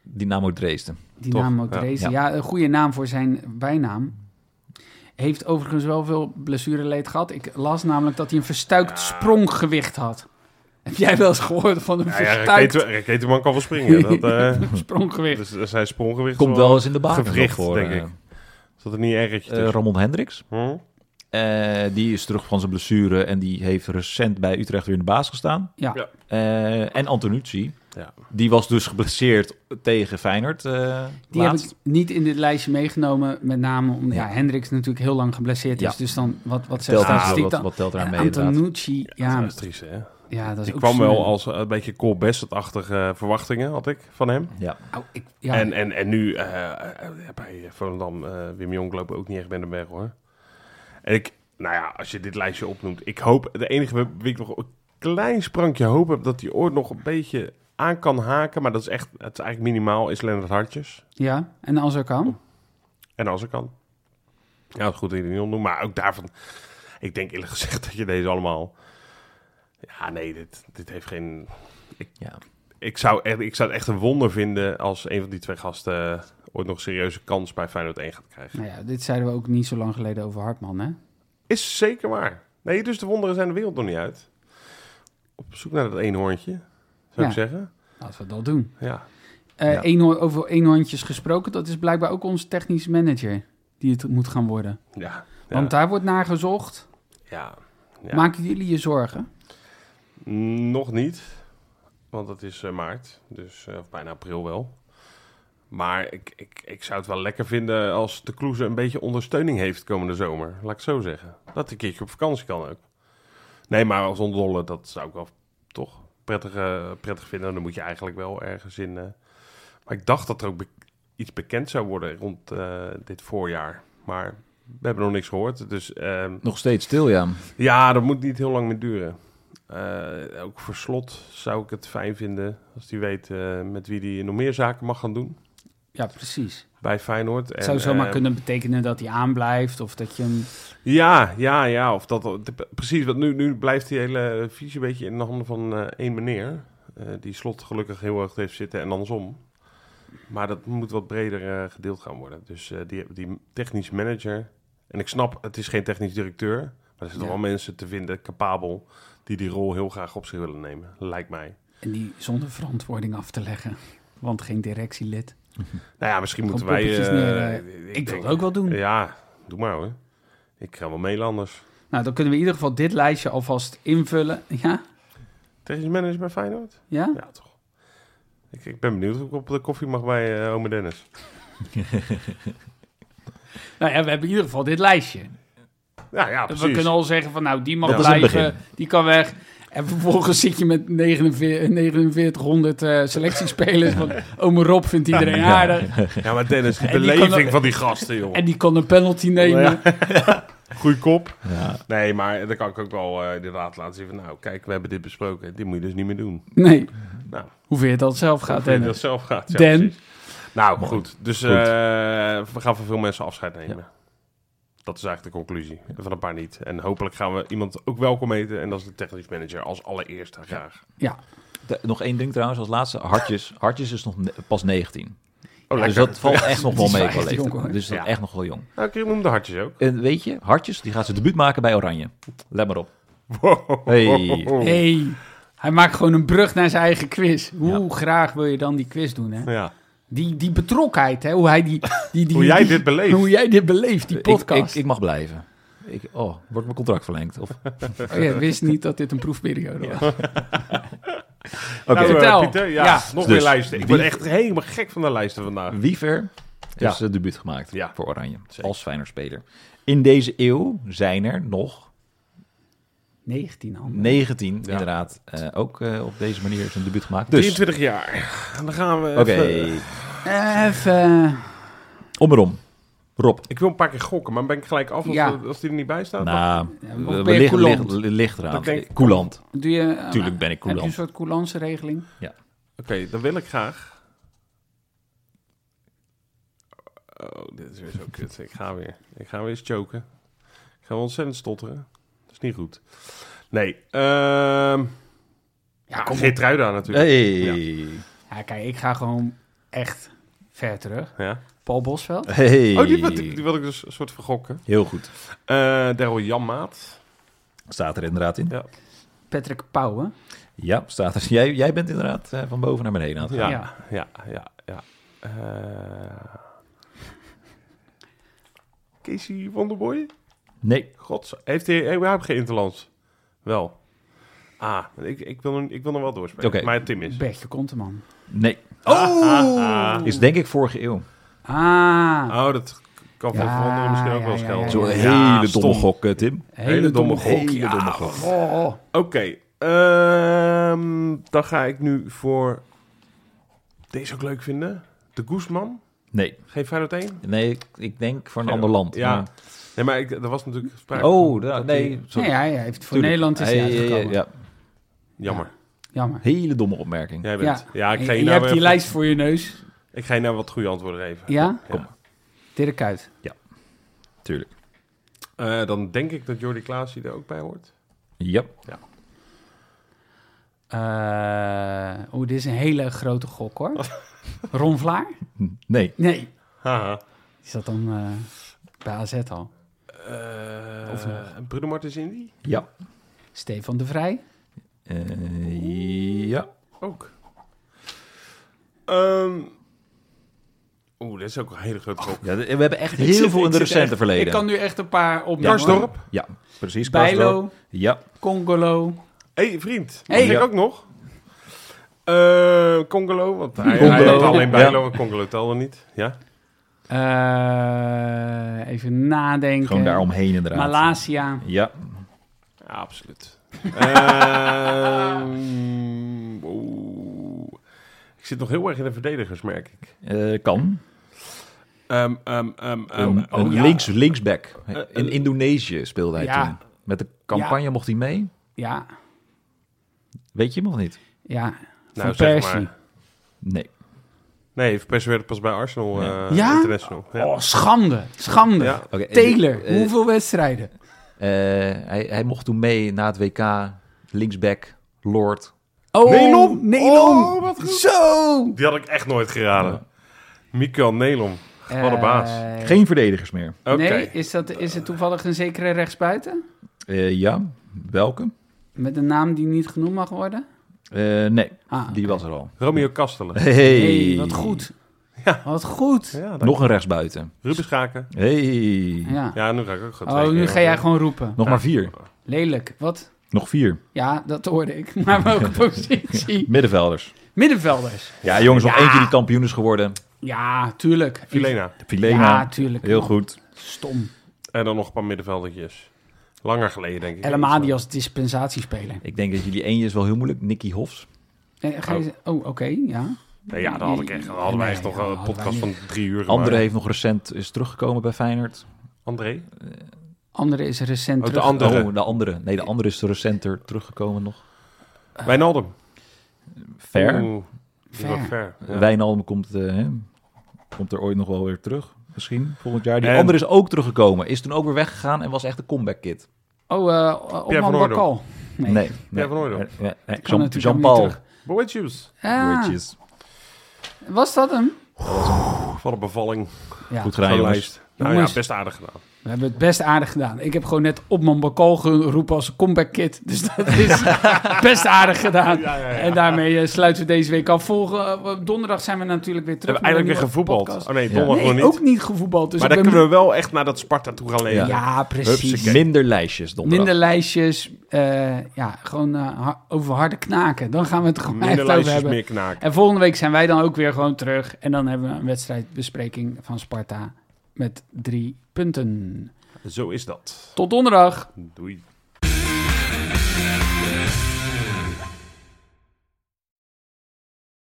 D: Dynamo Dresden.
B: Dynamo
A: Toch? Ja.
B: Dresden.
D: Ja.
B: Ja. een goede naam voor zijn bijnaam. Heeft overigens wel veel blessureleed gehad. Ik las namelijk dat hij een verstuikt spronggewicht had. Heb jij wel eens gehoord van een
A: Ja, ja
B: verstuikt
A: Raketen- Raketenman kan wel springen. Dat, eh
B: spronggewicht?
A: dus er zijn spronggewichten.
D: Komt wel eens in de baan
A: gewricht,
D: voor.
A: denk
D: eh,
A: ik. Is dat er niet ergertje
D: eh,
A: tussen?
D: Ramon Hendricks.
A: Hm?
D: Eh, die is terug van zijn blessure en die heeft recent bij Utrecht weer in de baas gestaan.
B: Ja.
A: Ja.
D: Eh, en Antonucci.
A: Ja.
D: Die was dus geblesseerd tegen Feyenoord. eh
B: Die
D: laatst.
B: heb ik niet in dit lijstje meegenomen. Met name omdat ja. Hendricks natuurlijk heel lang geblesseerd is.
D: Ja.
B: Dus dan wat, wat zijn
D: Telt daar-
B: statistiek
D: wat,
B: dan?
D: wat telt eraan
B: En
D: mee inderdaad.
B: Antonucci, ja,
A: Dat
B: ja,
A: is triest, hè?
B: dat is
A: Ik
B: ook
A: kwam
B: sneu.
A: wel als eh, een beetje Cole Bassett-achtige eh, verwachtingen, had ik, van hem.
D: Ja.
B: Au, ik, ja,
A: En, en, en nu eh, eh, bij Volendam, eh Wim Jong lopen we ook niet echt met hem weg, hoor. En ik, nou ja, als je dit lijstje opnoemt, ik hoop, de enige waar ik nog een klein sprankje hoop heb, dat hij ooit nog een beetje aan kan haken, maar dat is echt, het is eigenlijk minimaal, is Lennart Hartjes.
B: ja, en als er
A: Oh.
B: kan.
A: En als ik kan. Ja, het is goed dat je het niet opnoemt, maar ook daarvan, ik denk eerlijk gezegd dat je deze allemaal, ja nee, dit, dit heeft geen,
D: Ja.
A: ik zou, echt, ik zou het echt een wonder vinden als een van die twee gasten eh, ooit nog een serieuze kans bij Feyenoord 1 gaat krijgen.
B: Nou ja, dit zeiden we ook niet zo lang geleden over Hartman, hè?
A: Is zeker waar. Nee, dus de wonderen zijn de wereld nog niet uit. Op zoek naar dat eenhoorntje, zou
B: Ja.
A: ik zeggen.
B: Laten we dat doen.
A: Ja.
B: Eh,
C: Ja.
B: eenhoor- over eenhoorntjes gesproken, dat is blijkbaar ook onze technisch manager die het moet gaan worden.
A: Ja.
B: Want daar wordt naar gezocht.
A: ja. Ja.
B: Maken jullie je zorgen?
A: Nog niet, want het is eh, maart, dus eh, of bijna april wel. Maar ik, ik, ik zou het wel lekker vinden als de Kloeze een beetje ondersteuning heeft komende zomer. Laat ik het zo zeggen. Dat hij een keertje op vakantie kan ook. Nee, maar als onderdolle, dat zou ik wel toch prettig, eh, prettig vinden. Dan moet je eigenlijk wel ergens in... eh, Maar ik dacht dat er ook be- iets bekend zou worden rond eh, dit voorjaar. Maar we hebben nog niks gehoord, dus... ehm,
D: Nog steeds stil, ja.
A: ja, dat moet niet heel lang meer duren. Eh, ook voor slot zou ik het fijn vinden als hij weet eh, met wie hij nog meer zaken mag gaan doen
B: Ja, precies.
A: bij Feyenoord.
B: Het zou zomaar
A: eh,
B: kunnen betekenen dat hij aanblijft of dat je hem...
A: Ja, ja, ja. Of dat, de- precies, want nu, nu blijft die hele visie een beetje in de handen van eh, één meneer. eh, die slot gelukkig heel erg heeft zitten en andersom. Maar dat moet wat breder eh, gedeeld gaan worden. Dus eh, die, die technisch manager. En ik snap, het is geen technisch directeur. Maar er zitten
B: Ja.
A: wel mensen te vinden, capabel, die die rol heel graag op zich willen nemen. Lijkt mij.
B: En die zonder verantwoording af te leggen. Want geen directielid.
A: Nou ja, misschien moeten
B: Gewoon
A: wij...
B: poppetjes
A: eh,
B: neer, Ik, wil
A: denk-
B: het ook wel doen.
A: Ja, doe maar hoor. Ik ga wel mailen anders.
B: Nou, dan kunnen we in ieder geval dit lijstje alvast invullen. Ja?
A: Technisch manager bij Feyenoord?
B: Ja?
A: Ja, toch. Ik, ik ben benieuwd of ik op de koffie mag bij eh ome Dennis.
B: Nou ja, we hebben in ieder geval dit lijstje.
A: Ja, ja,
B: We
A: precies.
B: kunnen al zeggen van, nou, die mag
A: Dat is
D: een
B: blijven, die kan weg. En vervolgens zit je met 49 4900 eh, selectiespelers. Van, ome Rob vindt iedereen aardig.
A: Ja, maar Dennis, die
B: En die
A: beleving
B: kan ook-
A: van die gasten, joh.
B: En die kan een penalty nemen.
A: Ja. Goeie kop. Nee, maar dan kan ik ook wel eh, inderdaad laten zien van... Nou, kijk, we hebben dit besproken. Dit moet je dus niet meer doen.
B: Nee.
A: Nou.
B: Hoe vind je dat zelf
A: Hoe
B: gaat,
A: vind je
B: Dennis?
A: dat zelf gaat. Ja,
B: Dan?
A: precies. Nou, goed. Dus eh, we gaan van veel mensen afscheid nemen. Dat is eigenlijk de conclusie. En Van een paar niet. En hopelijk gaan we iemand ook welkom eten. En dat is de technisch manager. Als allereerste graag.
D: De- nog één ding trouwens, als laatste. Hartjes, Hartjes is nog ne- pas 19.
A: Oh,
D: dus
A: lekker.
D: dat valt echt nog
B: die
D: wel
B: is
D: mee
B: wel
D: qua
B: echt jong, hoor.
D: leeftijd. Dus dat
A: Ja.
D: echt nog wel jong.
A: Nou, ik noem de hartjes ook.
D: En weet je, Hartjes, die gaat zijn debuut maken bij Oranje. Let maar op.
A: Wow.
D: Hey.
B: Hey, hij maakt gewoon een brug naar zijn eigen quiz. Hoe graag wil je dan die quiz doen, hè?
A: Ja.
B: Die, die betrokkenheid, hè? Hoe, hij die, die, die,
A: Hoe jij
B: die-
A: dit beleeft.
B: hoe jij dit beleeft, die
D: Ik, ik,
B: podcast.
D: ik mag blijven. Ik, oh, wordt mijn contract verlengd? Of,
B: Oh ja, wist niet dat dit een proefperiode was.
D: Oké.
A: Nou, eh,
B: Vertel.
A: Pieter, ja,
B: Ja.
A: nog
D: Dus
A: meer lijsten. Ik ben
D: wie-
A: echt helemaal gek van de lijsten vandaag.
D: Wiever
A: Ja.
D: heeft zijn debuut gemaakt
A: Ja.
D: voor Oranje.
A: Zeker.
D: Als fijner speler. In deze eeuw zijn er nog
B: 19 handen.
D: 19
A: Ja.
D: inderdaad eh, ook eh, op deze manier zijn debuut gemaakt. Dus,
A: 23 jaar. En dan gaan we...
D: oké,
A: even-
B: Even. eh,
D: om en om. Rob,
A: Ik wil een paar keer gokken, maar ben ik gelijk af als,
B: Ja.
A: als die er niet bij staat?
D: nou,
B: ben
D: we, we
B: je
D: liggen
B: coulant?
D: ligt, ligt eraan.
A: Dat denk ik-
D: Coulant,
B: Doe je, eh,
D: tuurlijk
B: Heb je
D: ben ik
B: een
D: coulant.
B: soort coulantse regeling?
A: Oké, dan wil ik graag... Oh, dit is weer zo kut. Ik ga weer. Ik ga weer eens choken. Ik ga wel ontzettend stotteren. Dat is niet goed. Nee. ehm ja,
B: kom op.
A: geen trui daar natuurlijk.
D: Hey.
B: Ja, kijk, ik ga gewoon echt ver terug.
A: Ja.
B: Paul Bosveld.
D: Hey.
A: Oh, die wil, die, die wil ik dus een soort van gokken.
D: Heel goed.
A: Eh Daryl Janmaat.
D: Staat er inderdaad in.
A: Ja.
B: Patrick Pauwen.
D: Ja, staat er. Jij, jij bent inderdaad eh, van boven naar beneden aan het gaan.
A: Ja,
B: Ja.
A: ja, ja, ja. Eh, Casey Wonderboy?
D: Nee,
A: Gods, heeft hij, hij heeft geen interlands? Wel. Ah, ik, ik, wil, hem- ik wil hem wel doorspelen.
D: Oké.
A: Maar Tim is.
B: Bertje Konteman.
D: nee.
A: Ah,
D: Is denk ik vorige eeuw.
B: Ah,
A: ah. Oh, dat kan voor
B: Ja,
A: veranderen misschien ook
B: ja,
A: wel eens
B: ja,
A: gelden.
D: Zo'n
B: ja,
D: hele
A: Ja,
D: domme
A: stom.
D: gok, eh, Tim.
B: hele, domme gok.
D: Hele
B: Ja,
D: domme gok.
B: goh.
A: Oké, ehm, dan ga ik nu voor... Deze ook leuk vinden. De Guzman.
D: Nee,
A: Geen Feyenoord 1?
D: nee ik, ik denk voor een ander land.
A: Ja. Nee, maar ik, er was natuurlijk
D: Maar-
A: sprake
D: Oh,
A: van
D: da-
A: dat
D: nee.
A: hij-
D: Sorry.
B: Nee, hij heeft voor
D: Tuurlijk.
B: Nederland is hij
D: Hey,
B: uitgekomen.
D: ja, ja.
A: Jammer.
B: Jammer.
D: Hele domme opmerking.
A: Jij bent. Ja, ik,
B: En
A: ga
B: je
A: je nou
B: hebt die
A: weer-
B: lijst voor je neus.
A: ik ga je nou wat goede antwoorden geven.
B: Ja?
A: Kom maar.
B: Dirk Kuyt.
D: Tuurlijk.
A: Eh, dan denk ik dat Jordi Klaas hier er ook bij hoort.
D: Ja.
B: Eh, Oeh, dit is een hele grote gok hoor. Ron Vlaar?
D: Hm, Nee.
B: Nee.
A: Haha.
B: Is dat dan eh, bij AZ al?
A: Eh,
B: Of
A: Bruno Martens Indy?
D: Ja.
B: Stefan de Vrij?
D: Eh, ja.
A: Ook. Ehm Oeh, dat is ook een hele grote groep.
D: Ja, we hebben echt
B: Ik
D: heel
B: zit-
D: veel in
B: ik
D: de
B: zit
D: recente
B: echt-
D: verleden.
B: Ik kan nu echt een paar op.
A: Karsdorp.
D: Ja, precies. Karsdorp.
B: Bijlo,
D: Ja,
B: Congolo.
A: Hé, hey, vriend.
B: Hey.
A: Dat
D: Ja.
A: ik ook nog. Eh Congolo, want hij,
B: Congolo.
A: hij had alleen
D: Ja.
A: Bijlo en Congolo telde niet. Ja.
B: Eh, even nadenken.
D: gewoon daaromheen inderdaad.
B: Malasia.
D: Ja,
A: Ja, absoluut. Ehm, oeh. Ik zit nog heel erg in de verdedigers, merk ik.
D: eh, kan.
A: Ehm, ehm, ehm, ehm,
D: Een-
A: oh,
D: een
A: ja.
D: links, linksback.
A: Eh, eh,
D: In Indonesië speelde hij
B: Ja.
D: toen. Met de campagne mocht hij mee.
B: Ja,
D: Weet je hem nog niet?
B: ja.
A: Nou,
B: Van
A: zeg
B: Persie.
A: maar.
D: Nee.
A: Nee, Van Persie werd pas bij Arsenal eh,
B: Ja?
A: International. Ja.
B: Oh, schande. Schande.
A: Ja.
D: Oké, eh,
B: Taylor,
D: eh,
B: hoeveel wedstrijden?
D: eh, hij, hij mocht toen mee na het WK. Linksback, Lord.
B: Oh,
A: Nelom.
B: Nelom.
A: Oh, wat goed.
B: Zo.
A: Die had ik echt nooit geraden. Mikael Nelom. Wat een baas.
B: Eh,
C: Geen verdedigers meer.
A: Oké.
B: Nee, is, dat, is het toevallig een zekere rechtsbuiten?
D: Eh, ja, welke?
B: Met een naam die niet genoemd mag worden?
D: Eh, nee,
B: Ah,
D: die was er al.
A: Romeo Kastelen.
D: Hey,
B: hey, wat goed.
A: Ja.
B: Wat goed. Ja.
A: Ja, dank-
D: Nog een rechtsbuiten.
A: Ruben Schaken.
D: Hey.
A: Ja, nu ga ik ook gaan
B: Oh, nu ga
A: eh,
B: jij gewoon roepen.
D: Nog maar vier.
B: Lelijk. Wat?
D: Nog vier.
B: Ja, dat hoorde ik. Maar welke positie?
D: Middenvelders.
B: Middenvelders.
D: Ja, jongens, nog eentje die kampioen is geworden.
B: Ja, tuurlijk. Ik-
A: Filena.
D: Filena.
B: Ja, tuurlijk.
D: Heel goed.
B: Stom.
A: En dan nog een paar middenveldertjes. Langer geleden, denk ik.
B: El Amadi als dispensatiespeler.
D: Ik denk dat jullie eentje is wel heel moeilijk. Nicky Hofs.
B: Eh, ga je- Oh, oké, ja.
A: Nee, ja, dan had ik echt, dan hadden wij echt
B: Nee,
A: nog een
B: hadden wij
A: podcast van drie uur gemaakt.
D: André heeft nog recent is teruggekomen bij Feyenoord.
A: André?
B: Andere is recent
A: Oh, de
B: terug.
A: andere.
D: Oh, de andere. Nee, de andere is recenter teruggekomen nog.
A: Wijnaldum.
D: Ver.
A: Oeh, die
B: Ver.
A: was ver. Ja.
D: Wijnaldum komt, eh, hè, komt er ooit nog wel weer terug. Misschien volgend jaar. Die
A: En-
D: andere is ook teruggekomen. Is toen ook weer weggegaan en was echt een comeback kid.
B: Oh, eh
A: Pierre
B: Opman
A: van Hooydonk.
B: Bakal.
D: Nee. nee.
A: Ja, van Hooydonk.
D: Eh, eh, eh,
B: kan
D: Jean-
B: natuurlijk helemaal niet
D: Jean-Paul.
B: terug.
A: Boy Juice.
B: Ah,
D: Woordjes.
B: was dat hem?
A: Wat een bevalling.
B: Ja,
D: Goed
A: Van
D: gedaan, jongens.
A: lijst. Nou
B: Jongens.
A: ja, best aardig gedaan.
B: we hebben het best aardig gedaan. Ik heb gewoon net Opman Bakal geroepen als comeback kid. Dus dat is best aardig gedaan. En daarmee eh, sluiten we deze week af. Volgende, eh, donderdag zijn we natuurlijk weer
A: We
B: terug.
A: hebben eigenlijk
B: met
A: weer
B: een nieuwe
A: gevoetbald.
B: podcast.
A: Oh nee,
D: Ja.
A: donderdag nog
B: Nee,
A: niet.
B: ook niet gevoetbald. Dus
A: maar
B: ik
A: dan
B: ben
A: kunnen we wel echt naar dat Sparta toe gaan leven.
D: Ja.
B: Ja, precies.
A: Hupsakee.
D: Minder lijstjes donderdag.
B: Minder lijstjes. eh, ja, gewoon eh, ha- over harde knaken. Dan gaan we het er gewoon
A: Minder
B: echt over
A: lijstjes
B: hebben.
A: meer knaken.
B: En volgende week zijn wij dan ook weer gewoon terug. En dan hebben we een wedstrijdbespreking van Sparta met drie punten.
A: Zo is dat.
B: Tot donderdag.
A: Doei.